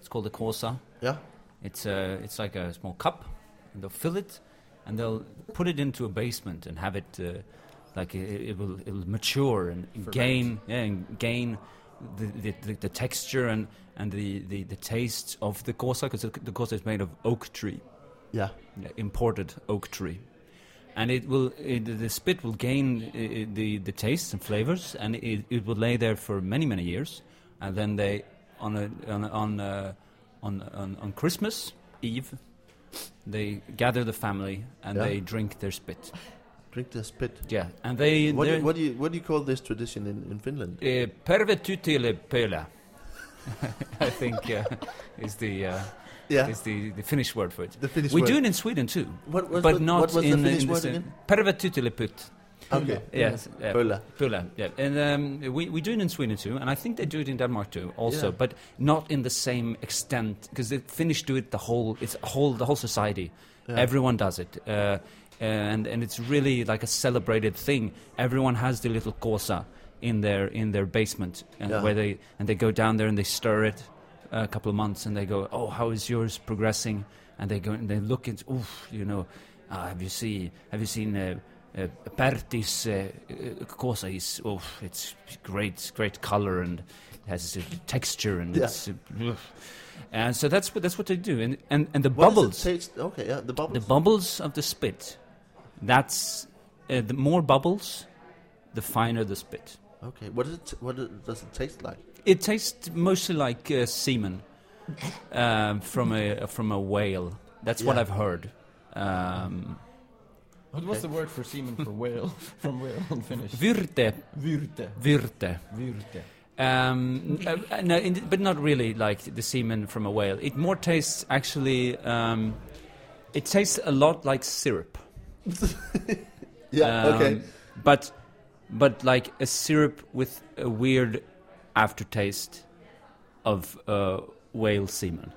Speaker 2: It's called a corsa.
Speaker 1: Yeah.
Speaker 2: It's a, it's like a small cup, and they'll fill it, and they'll put it into a basement and have it uh, like it, it will it will mature and gain yeah, and gain the, the, the, the texture and, and the, the, the taste of the corsa because the, the corsa is made of oak tree,
Speaker 1: Yeah.
Speaker 2: yeah, uh, imported oak tree. And it will, it, the spit will gain uh, the, the tastes and flavors, and it, it will lay there for many, many years. And then they, on, a, on, a- on, a, on, on, on Christmas Eve, they gather the family and
Speaker 1: Yeah.
Speaker 2: they drink their spit.
Speaker 1: Drink the spit.
Speaker 2: Yeah, and they.
Speaker 1: What do,
Speaker 2: they're-
Speaker 1: you, what, do you, what do you call this tradition in, in Finland?
Speaker 2: Eh, Pervetytile pöla. I think uh, is the uh,
Speaker 1: Yeah.
Speaker 2: is the, the Finnish word for it.
Speaker 1: The Finnish
Speaker 2: we
Speaker 1: word.
Speaker 2: do it in Sweden too,
Speaker 1: What was
Speaker 2: but
Speaker 1: the-
Speaker 2: not
Speaker 1: what was the
Speaker 2: in
Speaker 1: Finnish
Speaker 2: in
Speaker 1: word
Speaker 2: same-
Speaker 1: again?
Speaker 2: Pervetytilepyt.
Speaker 1: Okay.
Speaker 2: Yes, yeah.
Speaker 1: Pöla.
Speaker 2: Pula, yeah, and um, we, we do it in Sweden too, and I think they do it in Denmark too, also,
Speaker 1: Yeah.
Speaker 2: but not in the same extent because the Finnish do it the whole it's a whole the whole society, everyone does it, uh, and and it's really like a celebrated thing. Everyone has the little korsa in their in their basement, and
Speaker 1: Yeah.
Speaker 2: where they and they go down there and they stir it uh, a couple of months, and they go, oh, how is yours progressing? And they go and they look and oof, you know, ah, have you seen have you seen? Uh, uh, Pertis uh, uh, Corsa is oh, it's great, great color and has a texture and
Speaker 1: Yeah.
Speaker 2: it's, uh, and so that's what that's what they do and and, and the
Speaker 1: What does it
Speaker 2: bubbles,
Speaker 1: taste? Okay, yeah, the bubbles.
Speaker 2: the bubbles of the spit, that's uh, the more bubbles, the finer the spit.
Speaker 1: okay, what does it? What it- does it taste like?
Speaker 2: It tastes mostly like uh, semen um, from a from a whale. That's what
Speaker 1: Yeah.
Speaker 2: I've heard. Um,
Speaker 4: What was the word for semen for whale? From whale in Finnish.
Speaker 2: virte,
Speaker 4: Virte.
Speaker 2: virte.
Speaker 4: Virte.
Speaker 2: Um, n- uh, no, in, but not really like the semen from a whale. It more tastes actually. Um, it tastes a lot like syrup.
Speaker 1: Yeah.
Speaker 2: Um,
Speaker 1: okay.
Speaker 2: But but like a syrup with a weird aftertaste of uh, whale semen.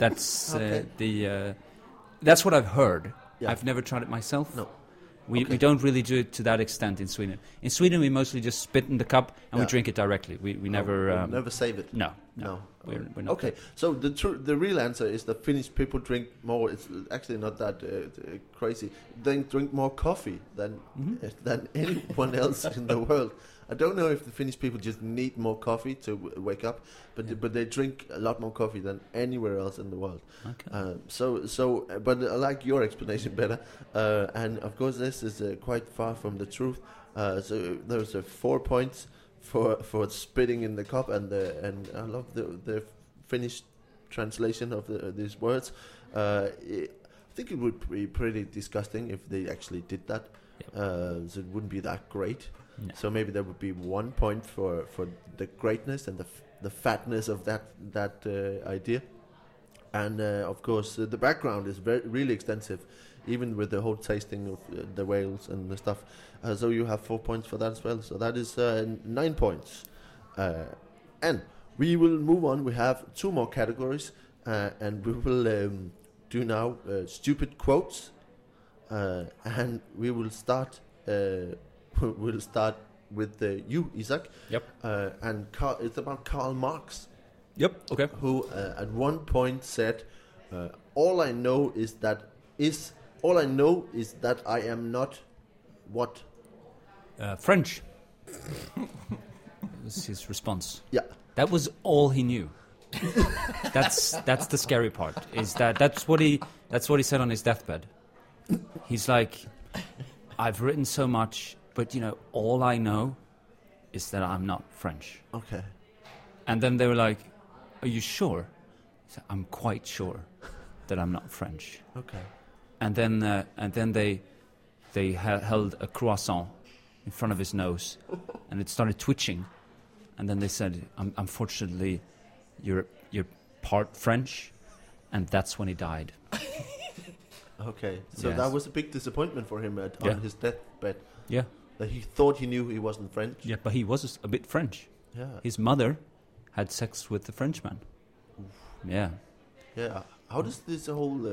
Speaker 2: that's uh,
Speaker 1: Okay.
Speaker 2: the uh, that's what I've heard.
Speaker 1: Yeah.
Speaker 2: I've never tried it myself.
Speaker 1: No.
Speaker 2: We,
Speaker 1: Okay.
Speaker 2: we don't really do it to that extent in Sweden. In Sweden, we mostly just spit in the cup and we
Speaker 1: Yeah.
Speaker 2: drink it directly. We, we never.
Speaker 1: Oh,
Speaker 2: um,
Speaker 1: never save it.
Speaker 2: No, no.
Speaker 1: No.
Speaker 2: We're, we're not
Speaker 1: Okay, so the tru- the real answer is that Finnish people drink more. It's actually not that uh, t- uh, crazy. They drink more coffee than
Speaker 2: Mm-hmm.
Speaker 1: uh, than anyone else in the world. I don't know if the Finnish people just need more coffee to w- wake up, but
Speaker 2: Yeah.
Speaker 1: but they drink a lot more coffee than anywhere else in the world.
Speaker 2: Okay.
Speaker 1: Um, so, so, uh, but I like your explanation better. Uh, and of course, this is uh, quite far from the truth. Uh, so there's uh, four points for for spitting in the cup, and the and I love the the Finnish translation of the, these words. Uh, it, I think it would be pretty disgusting if they actually did that. Uh, so it wouldn't be that great.
Speaker 2: No.
Speaker 1: So maybe there would be one point for, for the greatness and the f- the fatness of that that uh, idea. And uh, of course, uh, the background is very really extensive, even with the whole tasting of uh, the whales and the stuff. Uh, so you have four points for that as well. So that is uh, nine points. Uh, and we will move on. We have two more categories, uh, and we will um, do now uh, stupid quotes, uh, and we will start. Uh, we'll start with uh, you, Isaac.
Speaker 2: Yep.
Speaker 1: Uh, and Karl, it's about Karl Marx
Speaker 2: Yep. Okay.
Speaker 1: who uh, at one point said, uh, "All I know is that is all I know is that I am not what."
Speaker 2: Uh, French. was his response.
Speaker 1: Yeah,
Speaker 2: That was all he knew. that's that's the scary part. Is that that's what he that's what he said on his deathbed. He's like, I've written so much, but you know, all I know is that I'm not French.
Speaker 1: okay,
Speaker 2: And then they were like, Are you sure? He said, I'm quite sure that I'm not French.
Speaker 1: Okay.
Speaker 2: And then, uh, and then they, they hel- held a croissant in front of his nose, and it started twitching. And then they said, "Un- "Unfortunately, you're you're part French," and that's when he died.
Speaker 1: Okay. So
Speaker 2: Yes.
Speaker 1: that was a big disappointment for him at,
Speaker 2: Yeah.
Speaker 1: on his deathbed.
Speaker 2: Yeah,
Speaker 1: That he thought he knew he wasn't French.
Speaker 2: yeah, but he was a s- a bit French.
Speaker 1: Yeah.
Speaker 2: His mother had sex with the Frenchman. Yeah,
Speaker 1: Yeah. How does this whole uh,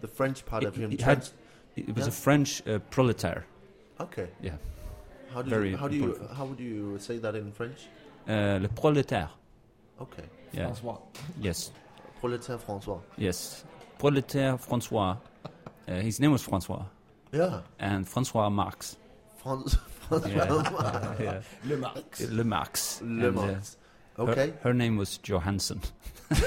Speaker 1: the French part
Speaker 2: It-
Speaker 1: of him
Speaker 2: it had-
Speaker 1: trans-
Speaker 2: it, it was
Speaker 1: Yeah.
Speaker 2: a French uh, proletaire.
Speaker 1: Okay.
Speaker 2: Yeah.
Speaker 1: How do
Speaker 2: Very
Speaker 1: you, how do you
Speaker 2: important.
Speaker 1: how would you say that in French?
Speaker 2: Uh, le proletaire.
Speaker 1: Okay.
Speaker 2: Yeah.
Speaker 3: Francois.
Speaker 2: Yes.
Speaker 1: Proletaire François.
Speaker 2: Yes. Proletaire Francois. Uh, his name was Francois.
Speaker 1: Yeah.
Speaker 2: And Francois Marx.
Speaker 1: France, François.
Speaker 2: Yeah.
Speaker 3: Le Marx.
Speaker 2: Le Marx.
Speaker 1: Le
Speaker 2: And, uh,
Speaker 1: Mans.
Speaker 2: her-
Speaker 1: Okay.
Speaker 2: Her, name was Johansson. but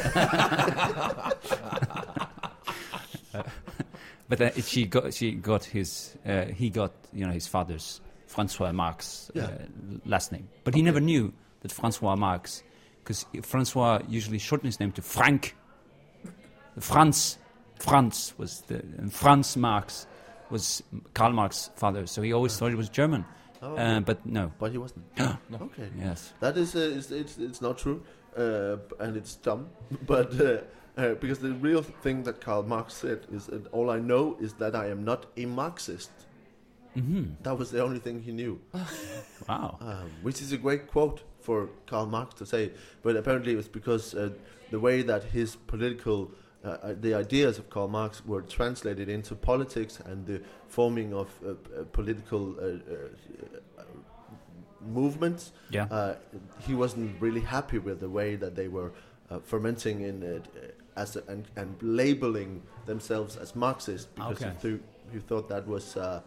Speaker 2: uh, she got she got his uh, he got you know his father's Francois Marx uh,
Speaker 1: Yeah.
Speaker 2: last name, but he never knew that Francois Marx because Francois usually shortened his name to Frank. Franz Franz was the and Franz Marx was Karl Marx's father, so he always thought it was German,
Speaker 1: Oh,
Speaker 2: uh, but no.
Speaker 1: but he wasn't. Okay.
Speaker 2: Yes.
Speaker 1: That is, uh, it's, it's, it's not true, uh, b- and it's dumb. But uh, uh, because the real thing that Karl Marx said is that all I know is that I am not a Marxist.
Speaker 2: hmm
Speaker 1: That was the only thing he knew,
Speaker 2: Wow.
Speaker 1: um, which is a great quote for Karl Marx to say. But apparently, it was because uh, the way that his political uh, uh, the ideas of Karl Marx were translated into politics and the forming of uh, uh, political uh, uh, uh, movements
Speaker 2: Yeah.
Speaker 1: uh, he wasn't really happy with the way that they were uh, fermenting in it uh, as a, and, and labeling themselves as Marxist because
Speaker 2: Okay.
Speaker 1: he, th- he thought that was uh,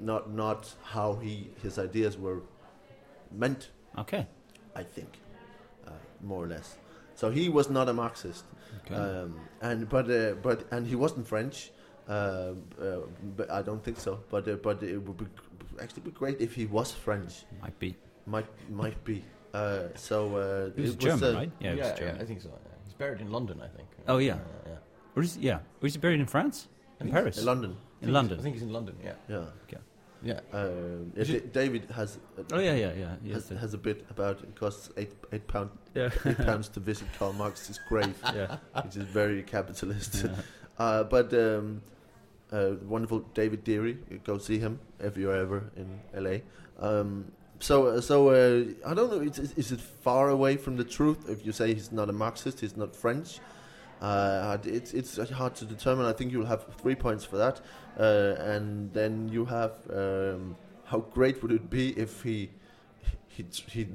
Speaker 1: not not how he his ideas were meant.
Speaker 2: Okay.
Speaker 1: I think, uh, more or less. So he was not a Marxist,
Speaker 2: Okay.
Speaker 1: um, and but uh, but and he wasn't French. Uh, uh, but I don't think so. But uh, but it would be actually be great if he was French.
Speaker 2: Might be.
Speaker 1: Might might be. Uh, so uh,
Speaker 2: It was
Speaker 1: it
Speaker 2: German,
Speaker 1: was, uh,
Speaker 2: right? Yeah, it was German.
Speaker 3: I think so. yeah. He's buried in London, I think.
Speaker 2: Oh, yeah.
Speaker 3: yeah.
Speaker 2: Or is, yeah. Or is he buried in France? In Paris?
Speaker 1: in London.
Speaker 3: I
Speaker 2: In
Speaker 3: think-
Speaker 2: London?
Speaker 3: I think he's in London. Yeah.
Speaker 1: Yeah.
Speaker 3: Yeah.
Speaker 1: Um, yeah,
Speaker 3: Is
Speaker 1: Da- David has. uh,
Speaker 2: oh, yeah, yeah, yeah. Yes,
Speaker 1: Has,
Speaker 2: that-
Speaker 1: has a bit about it costs eight eight pound
Speaker 2: yeah.
Speaker 1: eight pounds to visit Karl Marx's grave,
Speaker 2: yeah.
Speaker 1: which is very capitalist.
Speaker 2: Yeah.
Speaker 1: Uh, but um, uh, wonderful David Deary, you go see him if you're ever in LA. Um, so uh, so uh, I don't know. Is, is it far away from the truth if you say he's not a Marxist, he's not French? Uh, it's it's hard to determine. I think you'll have three points for that, uh, and then you have um, how great would it be if he he he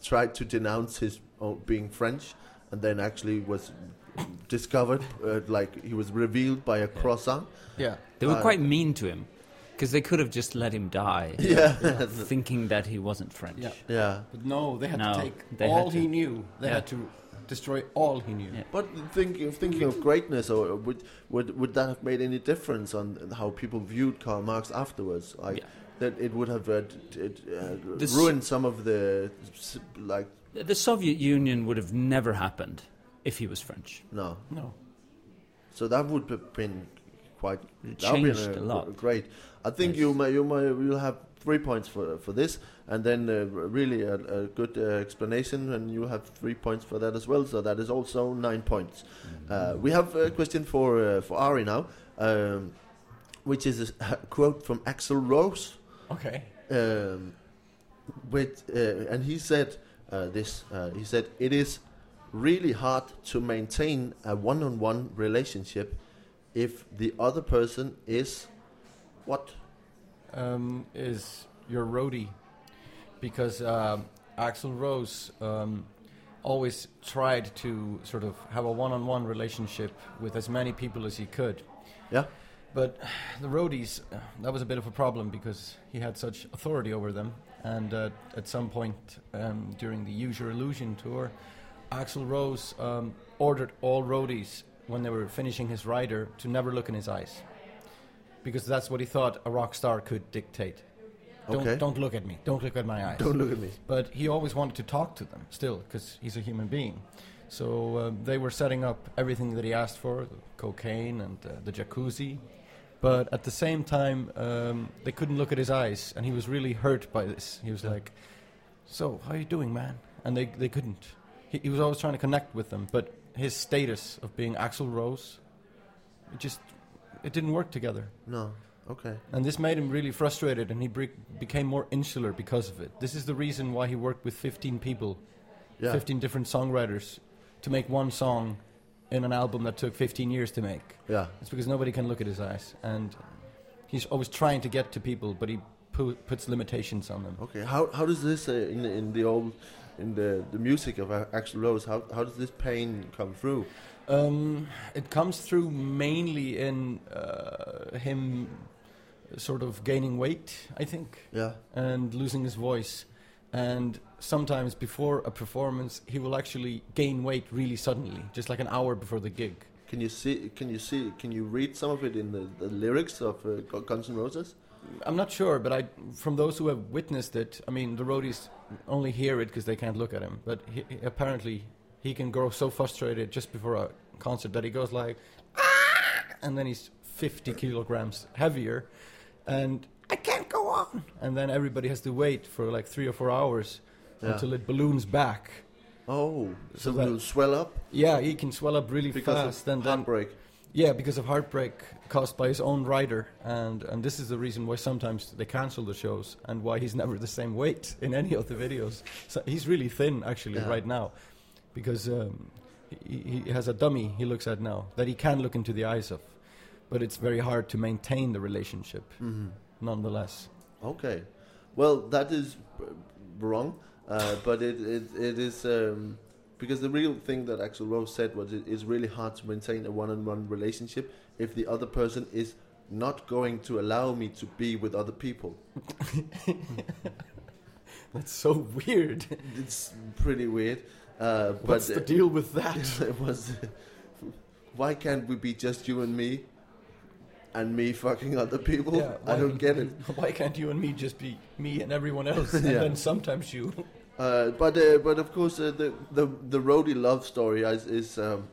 Speaker 1: tried to denounce his own being French, and then actually was discovered uh, like he was revealed by a croissant.
Speaker 3: Yeah.
Speaker 2: They were
Speaker 1: Uh,
Speaker 2: quite mean to him because they could have just let him die
Speaker 1: Yeah,
Speaker 2: thinking that he wasn't French.
Speaker 3: Yeah.
Speaker 1: yeah.
Speaker 3: But no, they had
Speaker 2: No,
Speaker 3: to take
Speaker 2: they
Speaker 3: all
Speaker 2: had to-
Speaker 3: he knew. They
Speaker 2: Yeah.
Speaker 3: had to destroy all he knew.
Speaker 2: Yeah.
Speaker 1: But thinking thinking of greatness, or would would would that have made any difference on how people viewed Karl Marx afterwards? Like
Speaker 2: Yeah.
Speaker 1: that it would have uh, d- d- uh,
Speaker 2: This-
Speaker 1: ruined some of the s- like
Speaker 2: The- The Soviet Union would have never happened if he was French.
Speaker 1: no.
Speaker 3: No.
Speaker 1: So that would have been quite
Speaker 2: It
Speaker 1: that would have
Speaker 2: changed
Speaker 1: been
Speaker 2: a lot.
Speaker 1: Great. I think you
Speaker 2: Yes.
Speaker 1: may you may you'll have three points for for this, and then uh, really a, a good uh, explanation, and you have three points for that as well. So that is also nine points.
Speaker 2: Mm-hmm.
Speaker 1: Uh, we have a question for uh, for Ari now, um, which is a quote from Axel Rose
Speaker 3: Okay.
Speaker 1: um, with, uh, and he said uh, this. Uh, he said it is really hard to maintain a one-on-one relationship if the other person is what?
Speaker 3: um, is your roadie because um, Axel Rose um, always tried to sort of have a one on one relationship with as many people as he could.
Speaker 1: Yeah.
Speaker 3: But the roadies, uh, that was a bit of a problem because he had such authority over them. And uh, at some point um, during the Use Your Illusion tour, Axel Rose um, ordered all roadies when they were finishing his rider to never look in his eyes because that's what he thought a rock star could dictate. Don't,
Speaker 1: Okay.
Speaker 3: don't look at me. Don't look at my eyes.
Speaker 1: Don't look at me.
Speaker 3: But he always wanted to talk to them still because he's a human being.
Speaker 4: So uh, they were setting up everything that he asked for the cocaine and uh, the jacuzzi. But at the same time, um, they couldn't look at his eyes, and he was really hurt by this. He was like, So, how are you doing, man? And they, they couldn't. He, he was always trying to connect with them, but his status of being Axel Rose, it just it didn't work together.
Speaker 1: No. Okay.
Speaker 4: And this made him really frustrated, and he bre- became more insular because of it. This is the reason why he worked with 15 people
Speaker 1: Yeah.
Speaker 4: 15 different songwriters to make one song in an album that took 15 years to make.
Speaker 1: Yeah.
Speaker 4: It's because nobody can look at his eyes. And he's always trying to get to people, but he pu- puts limitations on them.
Speaker 1: Okay. How how does this uh, in the, in the old in the the music of uh, Axl Rose? How how does this pain come through?
Speaker 4: Um, it comes through mainly in uh, him sort of gaining weight, I think,
Speaker 1: Yeah.
Speaker 4: and losing his voice. And sometimes before a performance, he will actually gain weight really suddenly, just like an hour before the gig.
Speaker 1: Can you see? Can you see? Can you read some of it in the, the lyrics of uh, Gu- Guns N' Roses?
Speaker 4: I'm not sure, but I, from those who have witnessed it, I mean, the roadies only hear it because they can't look at him. But he, he- apparently, he can grow so frustrated just before a concert that he goes like, "Ah!" and then he's 50 kilograms heavier, and I can't go on. And then everybody has to wait for like three or four hours
Speaker 1: Yeah.
Speaker 4: until it balloons back.
Speaker 1: Oh, so,
Speaker 4: So
Speaker 1: it
Speaker 4: that-
Speaker 1: will swell up
Speaker 4: Yeah, he can swell up really
Speaker 1: because
Speaker 4: fast.
Speaker 1: of
Speaker 4: and then
Speaker 1: heartbreak.
Speaker 4: yeah, because of heartbreak caused by his own rider, and and this is the reason why sometimes they cancel the shows, and why he's never the same weight in any of the videos. So he's really thin actually
Speaker 1: Yeah.
Speaker 4: right now, because um, he, he has a dummy he looks at now that he can look into the eyes of, but it's very hard to maintain the relationship,
Speaker 1: Mm-hmm.
Speaker 4: nonetheless.
Speaker 1: Okay, well that is b- wrong, uh, but it it, it is um, because the real thing that Axel Rose said was it is really hard to maintain a one-on-one relationship if the other person is not going to allow me to be with other people.
Speaker 4: That's so weird.
Speaker 1: It's pretty weird. Uh,
Speaker 4: What's
Speaker 1: but
Speaker 4: the deal with that?
Speaker 1: it was why can't we be just you and me and me fucking other people
Speaker 4: Yeah,
Speaker 1: i
Speaker 4: why-
Speaker 1: don't get it
Speaker 4: Why can't you and me just be me and everyone else, and
Speaker 1: Yeah.
Speaker 4: then sometimes you?
Speaker 1: uh, but uh, but of course uh, the, the the roadie love story is is, um,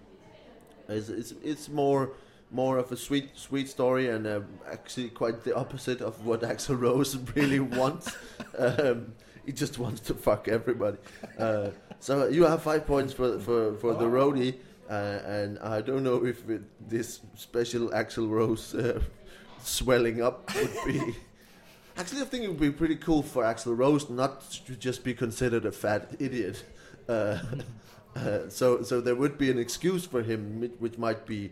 Speaker 1: is is it's more more of a sweet sweet story and um, actually quite the opposite of what Axel Rose really wants. um, he just wants to fuck everybody. Uh, so you have five points for for, for the roadie, uh, and I don't know if it, this special Axel Rose uh, swelling up would be. Actually, I think it would be pretty cool for Axel Rose not to just be considered a fat idiot. Uh, uh, so, so there would be an excuse for him, mi- which might be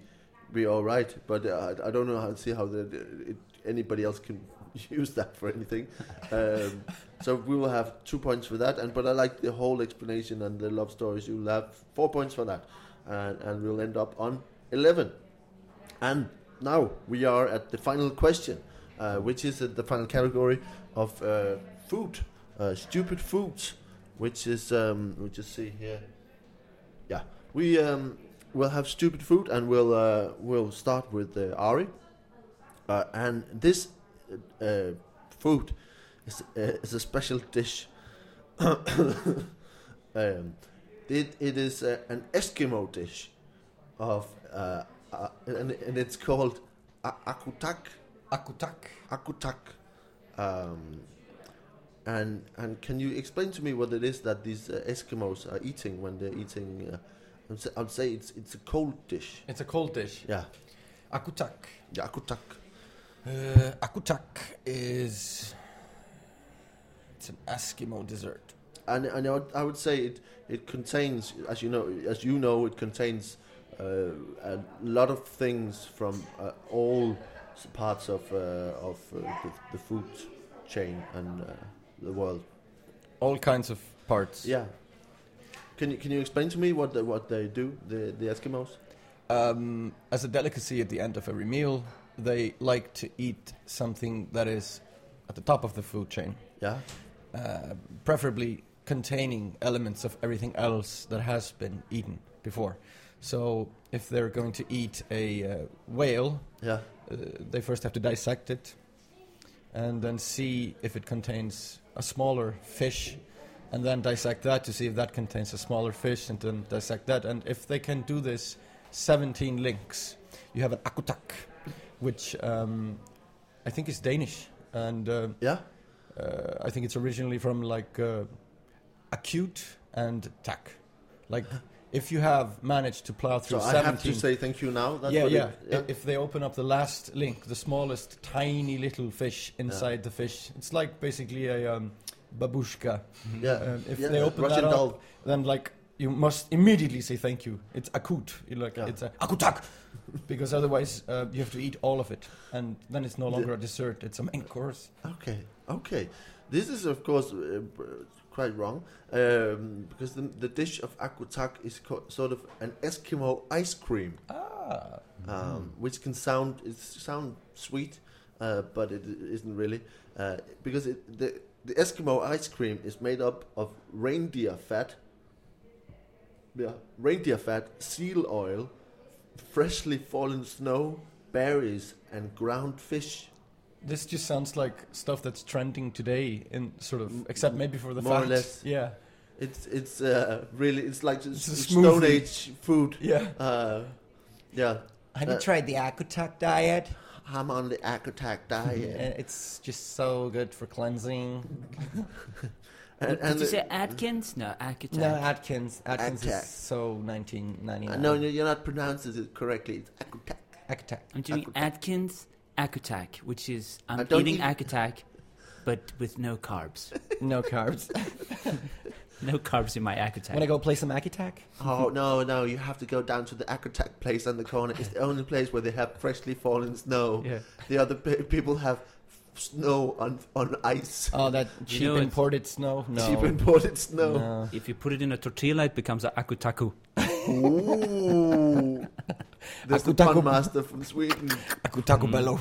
Speaker 1: be all right. But uh, I, I don't know how see how the, it, anybody else can use that for anything. Um, so we will have two points for that. And but I like the whole explanation and the love stories. You'll have four points for that, and and we'll end up on eleven. And now we are at the final question, uh, which is uh, the final category of uh, food, uh, stupid foods, which is um, we just see here. Yeah, we um, will have stupid food, and we'll uh, we'll start with uh, Ari, uh, and this uh, uh, food is, uh, is a special dish. um, it, it is uh, an Eskimo dish of uh, uh, and, and it's called a- akutak
Speaker 4: Akutak.
Speaker 1: akutak um, and and can you explain to me what it is that these uh, eskimos are eating when they're eating uh, I'd, say, I'd say it's it's a cold dish
Speaker 4: It's a cold dish.
Speaker 1: yeah
Speaker 4: Akutak.
Speaker 1: yeah akutak
Speaker 4: Uh, akutak is it's an Eskimo dessert.
Speaker 1: and and I would, I would say it it contains as you know as you know it contains uh, a lot of things from uh, all s- parts of uh, of uh, the, the food chain and uh, the world
Speaker 4: All kinds of parts.
Speaker 1: Yeah. Can you can you explain to me what the, what they do the the Eskimos?
Speaker 4: Um, as a delicacy at the end of every meal, they like to eat something that is at the top of the food chain,
Speaker 1: Yeah.
Speaker 4: uh, preferably containing elements of everything else that has been eaten before. So, if they're going to eat a uh, whale,
Speaker 1: Yeah.
Speaker 4: uh, they first have to dissect it and then see if it contains a smaller fish and then dissect that to see if that contains a smaller fish, and then dissect that. And if they can do this 17 links, you have an akutak, which um, I think is Danish. And uh,
Speaker 1: Yeah.
Speaker 4: uh, I think it's originally from like uh, acute and tack. Like if you have managed to plow
Speaker 1: So
Speaker 4: through
Speaker 1: I
Speaker 4: 17
Speaker 1: have to say thank you now. That's
Speaker 4: yeah,
Speaker 1: what
Speaker 4: yeah.
Speaker 1: It, yeah.
Speaker 4: I- If they open up the last link, the smallest tiny little fish inside the fish, it's like basically a um, babushka.
Speaker 1: yeah.
Speaker 4: Um, if
Speaker 1: yeah,
Speaker 4: they open
Speaker 1: Russian
Speaker 4: that
Speaker 1: doll.
Speaker 4: up, then like you must immediately say thank you. It's akut, You like
Speaker 1: Yeah.
Speaker 4: it's a akutak, because otherwise uh, you have to eat all of it, and then it's no longer a dessert; it's a main course.
Speaker 1: Okay, okay. This is, of course, uh, b- quite wrong um, because the, the dish of akutak is co- sort of an Eskimo ice cream,
Speaker 4: Ah,
Speaker 1: um, which can sound it sound sweet, uh, but it i- isn't really uh, because it, the the Eskimo ice cream is made up of reindeer fat, yeah, reindeer fat, seal oil, freshly fallen snow, berries, and ground fish.
Speaker 4: this just sounds like stuff that's trending today, in sort of, except maybe for the
Speaker 1: More or
Speaker 4: fact-
Speaker 1: less.
Speaker 4: Yeah,
Speaker 1: It's it's uh, really it's like s-
Speaker 4: a
Speaker 1: s- Stone
Speaker 4: smoothie.
Speaker 1: Age food.
Speaker 4: yeah.
Speaker 1: Uh, yeah,
Speaker 4: Have you
Speaker 1: Uh,
Speaker 4: tried the akutak diet?
Speaker 1: I'm on the Akutak diet.
Speaker 4: Uh, It's just so good for cleansing.
Speaker 1: and, and the-
Speaker 2: Atkins? No, Atkins.
Speaker 4: No, Atkins. Atkins
Speaker 1: Attack.
Speaker 4: is so
Speaker 1: uh,
Speaker 4: 1999.
Speaker 1: no, no, you're not pronouncing it correctly. It's Akutak.
Speaker 4: Attack.
Speaker 2: I'm doing
Speaker 1: Akutak.
Speaker 2: Atkins Akutak, which is
Speaker 1: I
Speaker 2: I'm
Speaker 1: don't
Speaker 2: eating
Speaker 1: eat-
Speaker 2: Akutak, but with no carbs.
Speaker 4: No carbs.
Speaker 2: No carbs in my
Speaker 4: Want to
Speaker 2: Akutak.
Speaker 4: go play some Akutak?
Speaker 1: Oh no, no, you have to go down to the Akutak place on the corner. It's the only place where they have freshly fallen snow.
Speaker 4: Yeah.
Speaker 1: The other pe- people have f- snow on on ice.
Speaker 4: Oh, that cheap
Speaker 2: know it's-
Speaker 4: imported snow? No.
Speaker 1: Cheap imported snow.
Speaker 4: No.
Speaker 2: If you put it in a tortilla, it becomes a Akutaku.
Speaker 1: Ooh. There's the
Speaker 4: Akutaku-
Speaker 1: pun master from Sweden.
Speaker 4: Akutaku bello.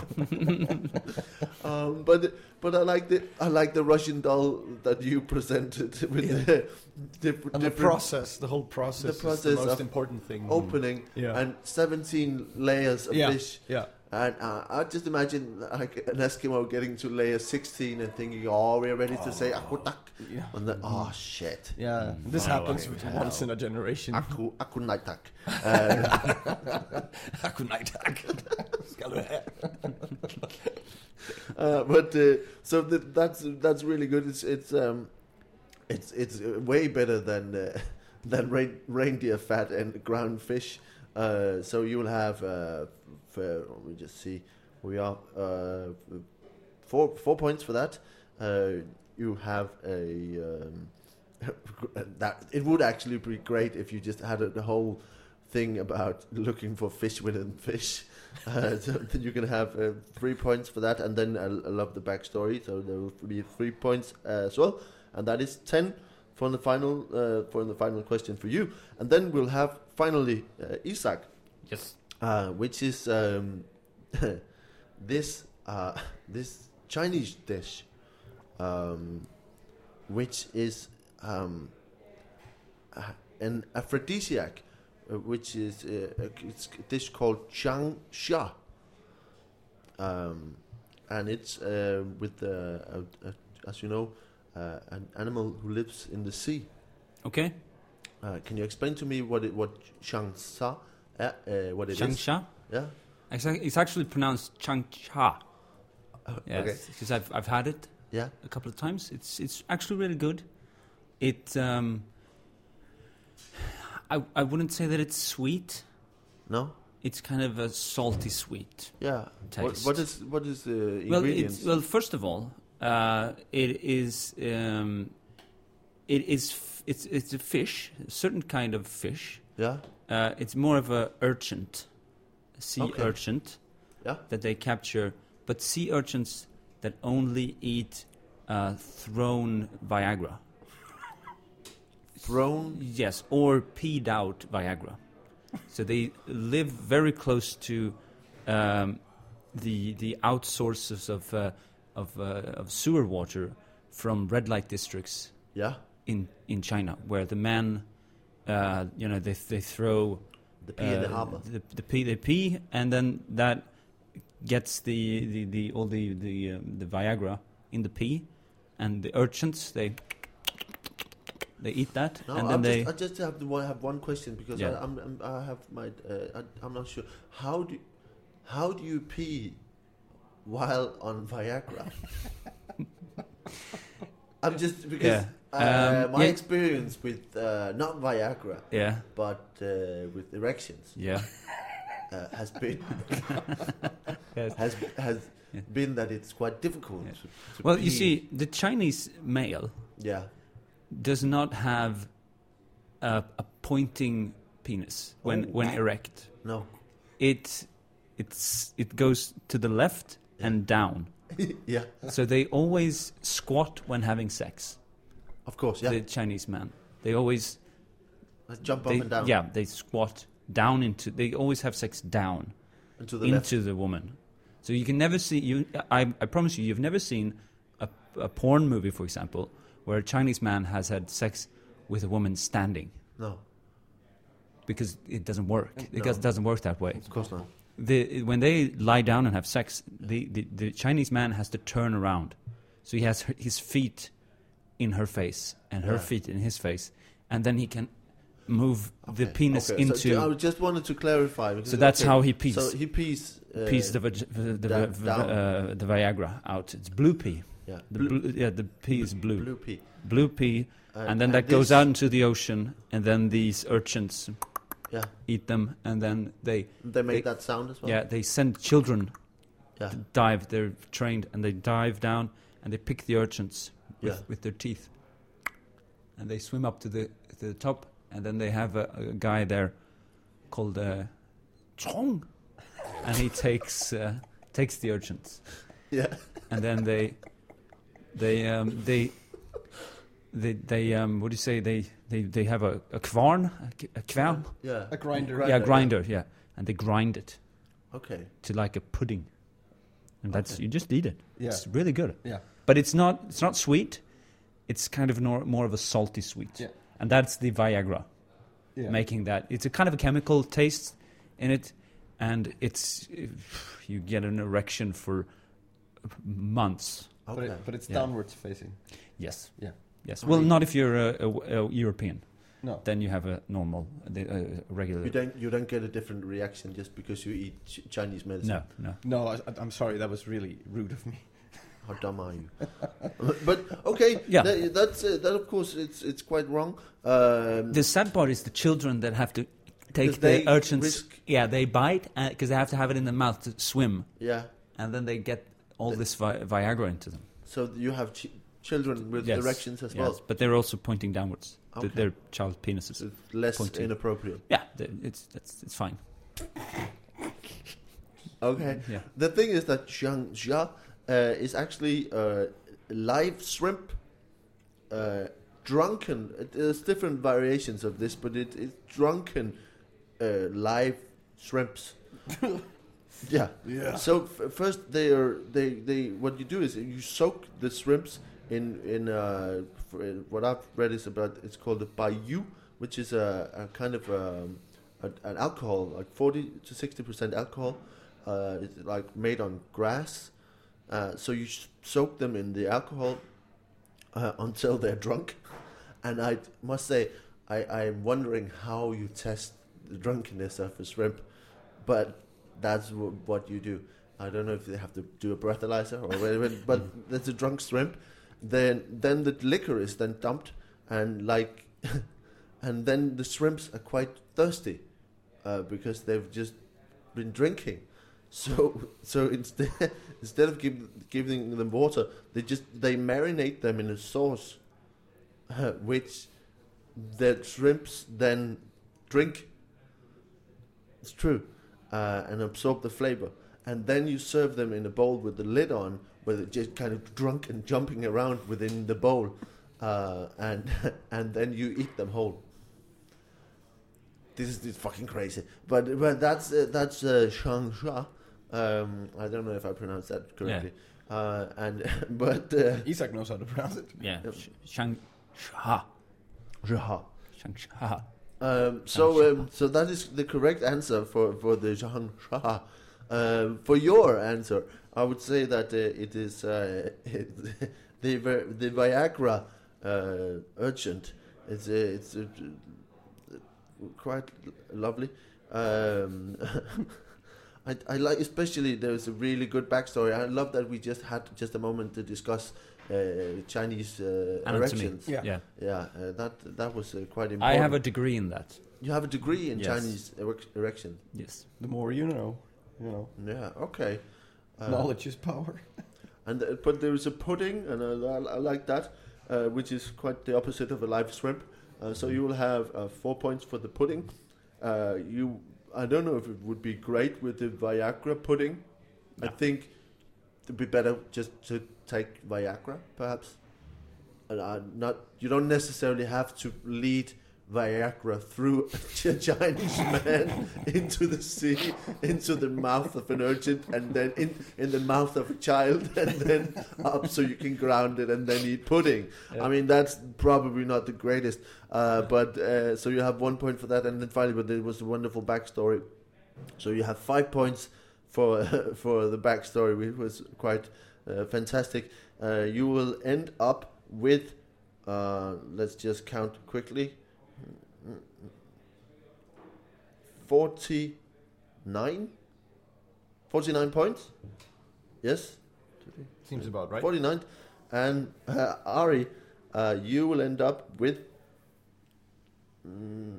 Speaker 1: Um, but but I like the I like the Russian doll that you presented with the different,
Speaker 4: And the
Speaker 1: different
Speaker 4: process, the whole process,
Speaker 1: The
Speaker 4: the process is
Speaker 1: process
Speaker 4: the most
Speaker 1: of
Speaker 4: important thing.
Speaker 1: opening
Speaker 4: Mm. Yeah.
Speaker 1: and seventeen layers of
Speaker 4: yeah.
Speaker 1: fish.
Speaker 4: Yeah.
Speaker 1: And uh, I just imagine like an Eskimo getting to layer sixteen and thinking, "Oh, we're ready to say akutak,"
Speaker 4: Yeah.
Speaker 1: and then, "Oh shit,
Speaker 4: Yeah.
Speaker 1: Mm.
Speaker 4: This
Speaker 2: Oh,
Speaker 4: happens
Speaker 2: okay.
Speaker 4: once in a generation.
Speaker 1: aku akunaitak." Uh,
Speaker 4: Akunaitak.
Speaker 1: uh, but uh, so that, that's that's really good. It's it's um, it's it's uh, way better than uh, than rein, reindeer fat and ground fish. Uh, so you will have uh, f- uh, let me just see. We are uh, four four points for that. Uh, you have a um, that it would actually be great if you just had a, the whole thing about looking for fish within fish. Uh, so then you can have uh, three points for that, and then I, I love the backstory, so there will be three points uh, as well, and that is ten for the final uh, for the final question for you, and then we'll have finally uh, Isaac
Speaker 2: Yes.
Speaker 1: uh, which is um, this uh, this Chinese dish, um, which is um, uh, an aphrodisiac, uh, which is uh, a- it's a dish called Chang Xia. Um, and it's uh, with uh, a, a, as you know uh, an animal who lives in the sea.
Speaker 2: Okay.
Speaker 1: Uh, can you explain to me what it, what Changsha, uh, uh, what it is?
Speaker 2: Changsha.
Speaker 1: Yeah.
Speaker 2: It's ac- it's actually pronounced Changcha.
Speaker 1: Uh, okay.
Speaker 2: Yes, because I've I've had it
Speaker 1: Yeah.
Speaker 2: a couple of times. It's it's actually really good. It um, I I wouldn't say that it's sweet.
Speaker 1: No.
Speaker 2: It's kind of a salty sweet.
Speaker 1: Yeah. What,
Speaker 2: Taste.
Speaker 1: what is what is the
Speaker 2: Well,
Speaker 1: ingredients?
Speaker 2: it's, well, first of all, uh, it is um, it is f- it's it's a fish, a certain kind of fish.
Speaker 1: yeah.
Speaker 2: Uh, it's more of a urchin, a sea
Speaker 1: Okay.
Speaker 2: urchin,
Speaker 1: Yeah.
Speaker 2: that they capture. But sea urchins that only eat uh, thrown Viagra.
Speaker 1: Thrown.
Speaker 2: Yes, or peed out Viagra. So they live very close to um, the the outsources of uh, of, uh, of sewer water from red light districts
Speaker 1: Yeah.
Speaker 2: in in China, where the men, uh, you know, they they throw
Speaker 1: The pea in the
Speaker 2: uh,
Speaker 1: harbor.
Speaker 2: The, the pea, they pee, and then that gets the the, the all the the um, the Viagra in the pee, and the urchins they They eat that,
Speaker 1: No,
Speaker 2: and
Speaker 1: I'm
Speaker 2: then they.
Speaker 1: just, I just have the one, have one question because
Speaker 2: Yeah.
Speaker 1: I, I'm, I'm I have my uh, I, I'm not sure how do how do you pee while on Viagra? I'm just because
Speaker 2: Yeah.
Speaker 1: uh,
Speaker 2: Um,
Speaker 1: my
Speaker 2: yeah.
Speaker 1: experience with uh, not Viagra
Speaker 2: yeah,
Speaker 1: but uh, with erections
Speaker 2: yeah.
Speaker 1: uh, has been
Speaker 2: Yes.
Speaker 1: has has
Speaker 2: Yeah.
Speaker 1: been that it's quite difficult.
Speaker 2: Yeah.
Speaker 1: To, to
Speaker 2: Well, you
Speaker 1: pee.
Speaker 2: see, the Chinese male
Speaker 1: yeah,
Speaker 2: does not have a, a pointing penis when
Speaker 1: Oh,
Speaker 2: when
Speaker 1: wow.
Speaker 2: erect.
Speaker 1: no,
Speaker 2: It it's it goes to the left and down.
Speaker 1: yeah,
Speaker 2: So they always squat when having sex.
Speaker 1: of course, yeah,
Speaker 2: The Chinese man. They always
Speaker 1: Let's jump up
Speaker 2: they,
Speaker 1: and down,
Speaker 2: yeah, they squat down into they always have sex down
Speaker 1: and to the left.
Speaker 2: into the woman. So you can never see you. I, I promise you, you've never seen a, a porn movie, for example, where a Chinese man has had sex with a woman standing
Speaker 1: No,
Speaker 2: because it doesn't work. It
Speaker 1: Mm, No.
Speaker 2: just doesn't work that way.
Speaker 1: of course not.
Speaker 2: The, when they lie down and have sex, the, the, the Chinese man has to turn around, so he has her, his feet in her face and her
Speaker 1: Yeah.
Speaker 2: feet in his face, and then he can move the
Speaker 1: Okay,
Speaker 2: penis
Speaker 1: okay,
Speaker 2: into.
Speaker 1: So ju- I just wanted to clarify. because-
Speaker 2: So that's
Speaker 1: okay,
Speaker 2: how he pees.
Speaker 1: So he pees. Uh,
Speaker 2: piece the vag- the, the,
Speaker 1: da-
Speaker 2: the-
Speaker 1: down.
Speaker 2: uh, the Viagra out. It's blue pea.
Speaker 1: yeah,
Speaker 2: The blue, yeah, the pea is blue. Blue,
Speaker 1: blue pee,
Speaker 2: pea,
Speaker 1: Uh,
Speaker 2: and then that goes
Speaker 1: this-
Speaker 2: out into the ocean, and then these urchins
Speaker 1: Yeah,
Speaker 2: eat them, and then they
Speaker 1: they make
Speaker 2: They-
Speaker 1: that sound as well.
Speaker 2: yeah they send children
Speaker 1: yeah,
Speaker 2: to dive. They're trained, and they dive down and they pick the urchins with,
Speaker 1: Yeah.
Speaker 2: with their teeth, and they swim up to the to the top, and then they have a, a guy there called uh, Chong, and he takes uh, takes the urchins.
Speaker 1: yeah.
Speaker 2: and then they they um, they they they um, what do you say they they, they have a, a kvarn a k- a kvarn
Speaker 1: yeah.
Speaker 3: A grinder.
Speaker 2: yeah grinder yeah. and they grind it
Speaker 1: Okay.
Speaker 2: to like a pudding and that's you just eat it
Speaker 3: Yeah.
Speaker 2: it's really good
Speaker 3: Yeah.
Speaker 2: but it's not it's not sweet it's kind of nor, more of a salty sweet
Speaker 3: Yeah.
Speaker 2: and that's the Viagra
Speaker 3: Yeah.
Speaker 2: making that it's a kind of a chemical taste in it and it's you get an erection for months
Speaker 3: But,
Speaker 1: Okay.
Speaker 3: it, but it's
Speaker 2: Yeah.
Speaker 3: downwards facing.
Speaker 2: Yes.
Speaker 3: Yeah.
Speaker 2: Yes.
Speaker 1: I
Speaker 2: Well,
Speaker 1: mean-
Speaker 2: not if you're a, a- a European.
Speaker 3: No.
Speaker 2: Then you have a normal, a, a regular.
Speaker 1: You don't you don't get a different reaction just because you eat ch- Chinese medicine.
Speaker 2: No, no.
Speaker 3: No, I, I'm sorry. That was really rude of me.
Speaker 1: How dumb are you? but okay,
Speaker 2: Yeah.
Speaker 1: that, that's uh, that. Of course, it's it's quite wrong. Um,
Speaker 2: The sad part is the children that have to
Speaker 1: Because
Speaker 2: take
Speaker 1: they
Speaker 2: the urchins.
Speaker 1: risk-
Speaker 2: Yeah, they bite because they have to have it in their mouth to swim,
Speaker 1: yeah.
Speaker 2: and then they get all
Speaker 1: The-
Speaker 2: this vi- Viagra into them.
Speaker 1: So you have ch- children with
Speaker 2: Yes,
Speaker 1: erections as
Speaker 2: yes,
Speaker 1: well.
Speaker 2: but they're also pointing downwards.
Speaker 1: Okay.
Speaker 2: Th- They're child penises.
Speaker 1: So it's less
Speaker 2: Pointy.
Speaker 1: inappropriate.
Speaker 2: yeah, th- it's that's it's fine.
Speaker 1: Okay.
Speaker 2: Yeah.
Speaker 1: The thing is that Zhang Jia uh, is actually uh, live shrimp, uh, drunken. uh, There's different variations of this, but it, it's drunken uh, live shrimps. yeah.
Speaker 3: Yeah.
Speaker 1: So f- first they are they they what you do is you soak the shrimps in in uh, f- uh, what I've read is about it's called a bayou, which is a, a kind of um, a, an alcohol like forty to sixty percent alcohol. Uh, it's like made on grass, uh, so you s- soak them in the alcohol uh, until they're drunk. And I must say, I, I'm wondering how you test the drunkenness of a shrimp, but that's w- what you do. I don't know if they have to do a breathalyzer or whatever, but there's a drunk shrimp. Then, then the liquor is then dumped, and like, and then the shrimps are quite thirsty, uh, because they've just been drinking. So, so instead, instead of give, giving them water, they just they marinate them in a sauce, uh, which the shrimps then drink. It's true, uh, and absorb the flavor. And then you serve them in a bowl with the lid on, where they're just kind of drunk and jumping around within the bowl, uh, and and then you eat them whole. This is this is fucking crazy, but but that's uh, that's uh, Shangsha. Um, I don't know if I pronounced that correctly. Uh, and but uh,
Speaker 3: Isaac knows how to pronounce it.
Speaker 2: Yeah.
Speaker 1: Yep.
Speaker 2: Sh- Shang, sha,
Speaker 1: Zheha.
Speaker 2: shang, sha.
Speaker 1: Um, so, um, so that is the correct answer for for the Zhang Sha. Um, for your answer, I would say that uh, it is uh, the Vi- the Viagra uh, urgent It's uh, it's uh, quite lovely. Um, I, I like especially there's a really good backstory. I love that we just had just a moment to discuss uh, Chinese uh,
Speaker 2: Anatomy.
Speaker 1: erections.
Speaker 3: Yeah.
Speaker 2: yeah.
Speaker 1: Yeah, uh, that that was uh, quite important.
Speaker 2: I have a degree in that.
Speaker 1: you have a degree in
Speaker 2: Yes.
Speaker 1: Chinese erec- erection.
Speaker 2: Yes.
Speaker 4: The more you know, you know.
Speaker 1: Yeah, okay. Uh,
Speaker 4: Knowledge is power.
Speaker 1: And uh, but there is a pudding, and I, I, I like that, uh, which is quite the opposite of a live shrimp. Uh, so you will have uh, four points for the pudding. Uh, you, I don't know if it would be great with the Viagra pudding. I think it'd be better just to take Viagra, perhaps. And i not, you don't necessarily have to lead Viagra through a Chinese man into the sea, into the mouth of an urchin, and then in, in the mouth of a child, and then up so you can ground it and then eat pudding. I mean, that's probably not the greatest. Uh, but uh, so you have one point for that, and then finally, but it was a wonderful backstory. So you have five points for for the backstory, which was quite uh, fantastic. Uh, you will end up with, uh, let's just count quickly, forty nine. 49 points? Yes?
Speaker 3: Seems about right.
Speaker 1: 49. And uh, Ari, uh, you will end up with mm,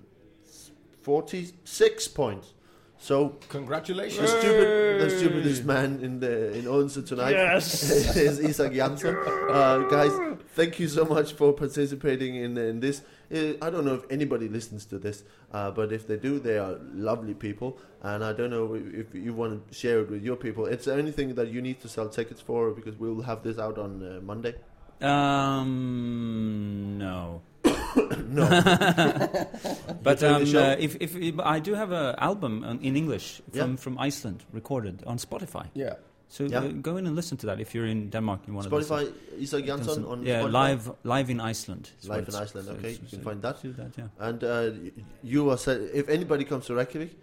Speaker 1: 46 points. So the
Speaker 3: Congratulations.
Speaker 1: stupid, the stupidest man in the in Odense tonight is Isak Janssen. Uh, guys, thank you so much for participating in in this. Uh, I don't know if anybody listens to this, uh, but if they do, they are lovely people. And I don't know if you want to share it with your people. It's anything that you need to sell tickets for because we will have this out on uh, Monday.
Speaker 2: Um, no.
Speaker 1: no,
Speaker 2: But
Speaker 1: doing the
Speaker 2: um,
Speaker 1: show?
Speaker 2: uh, if, if, if I do have an album on, in English from,
Speaker 1: Yeah.
Speaker 2: from Iceland recorded on Spotify,
Speaker 4: Yeah.
Speaker 2: so
Speaker 1: Yeah.
Speaker 2: uh, go in and listen to that if you're in Denmark. You want to
Speaker 1: Spotify Isak
Speaker 2: listen.
Speaker 1: Jansson on
Speaker 2: yeah
Speaker 1: Spotify.
Speaker 2: live live in Iceland. is what
Speaker 1: Live in
Speaker 2: it's-
Speaker 1: Iceland.
Speaker 2: so
Speaker 1: Okay,
Speaker 2: it's-
Speaker 1: you can
Speaker 2: so
Speaker 1: find that.
Speaker 2: do that. Yeah.
Speaker 1: And uh, y- you are said if anybody comes to Reykjavik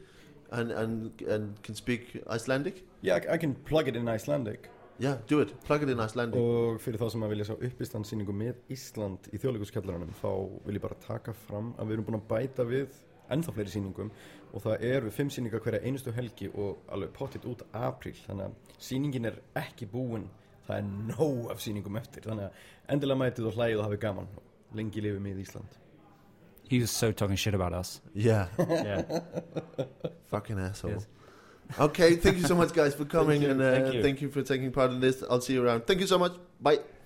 Speaker 1: and and and can speak Icelandic,
Speaker 4: Yeah, I, I can plug it in Icelandic
Speaker 1: yeah, do it. Plug it in Icelandic.
Speaker 5: Oh.
Speaker 4: og fyrir þá sem að vilja sjá uppistandsýningu með Ísland í þjóðleikuskjallaranum þá vil ég bara taka fram að við erum búin að bæta við ennþá fleiri sýningum og það eru fimm sýningar hverja einustu helgi og alveg pottitt út apríl þannig að sýningin er ekki búin það er nóg af sýningum eftir þannig að endilega mætið og hlæðið og hafið gaman lengi lifið með Ísland
Speaker 2: He was so talking shit about us.
Speaker 1: Yeah,
Speaker 2: yeah.
Speaker 1: fucking asshole.
Speaker 2: Yes.
Speaker 1: Okay, thank you so much, guys, for coming,
Speaker 4: you,
Speaker 1: and uh,
Speaker 4: thank you.
Speaker 1: thank you for taking part in this. I'll see you around. Thank you so much. Bye.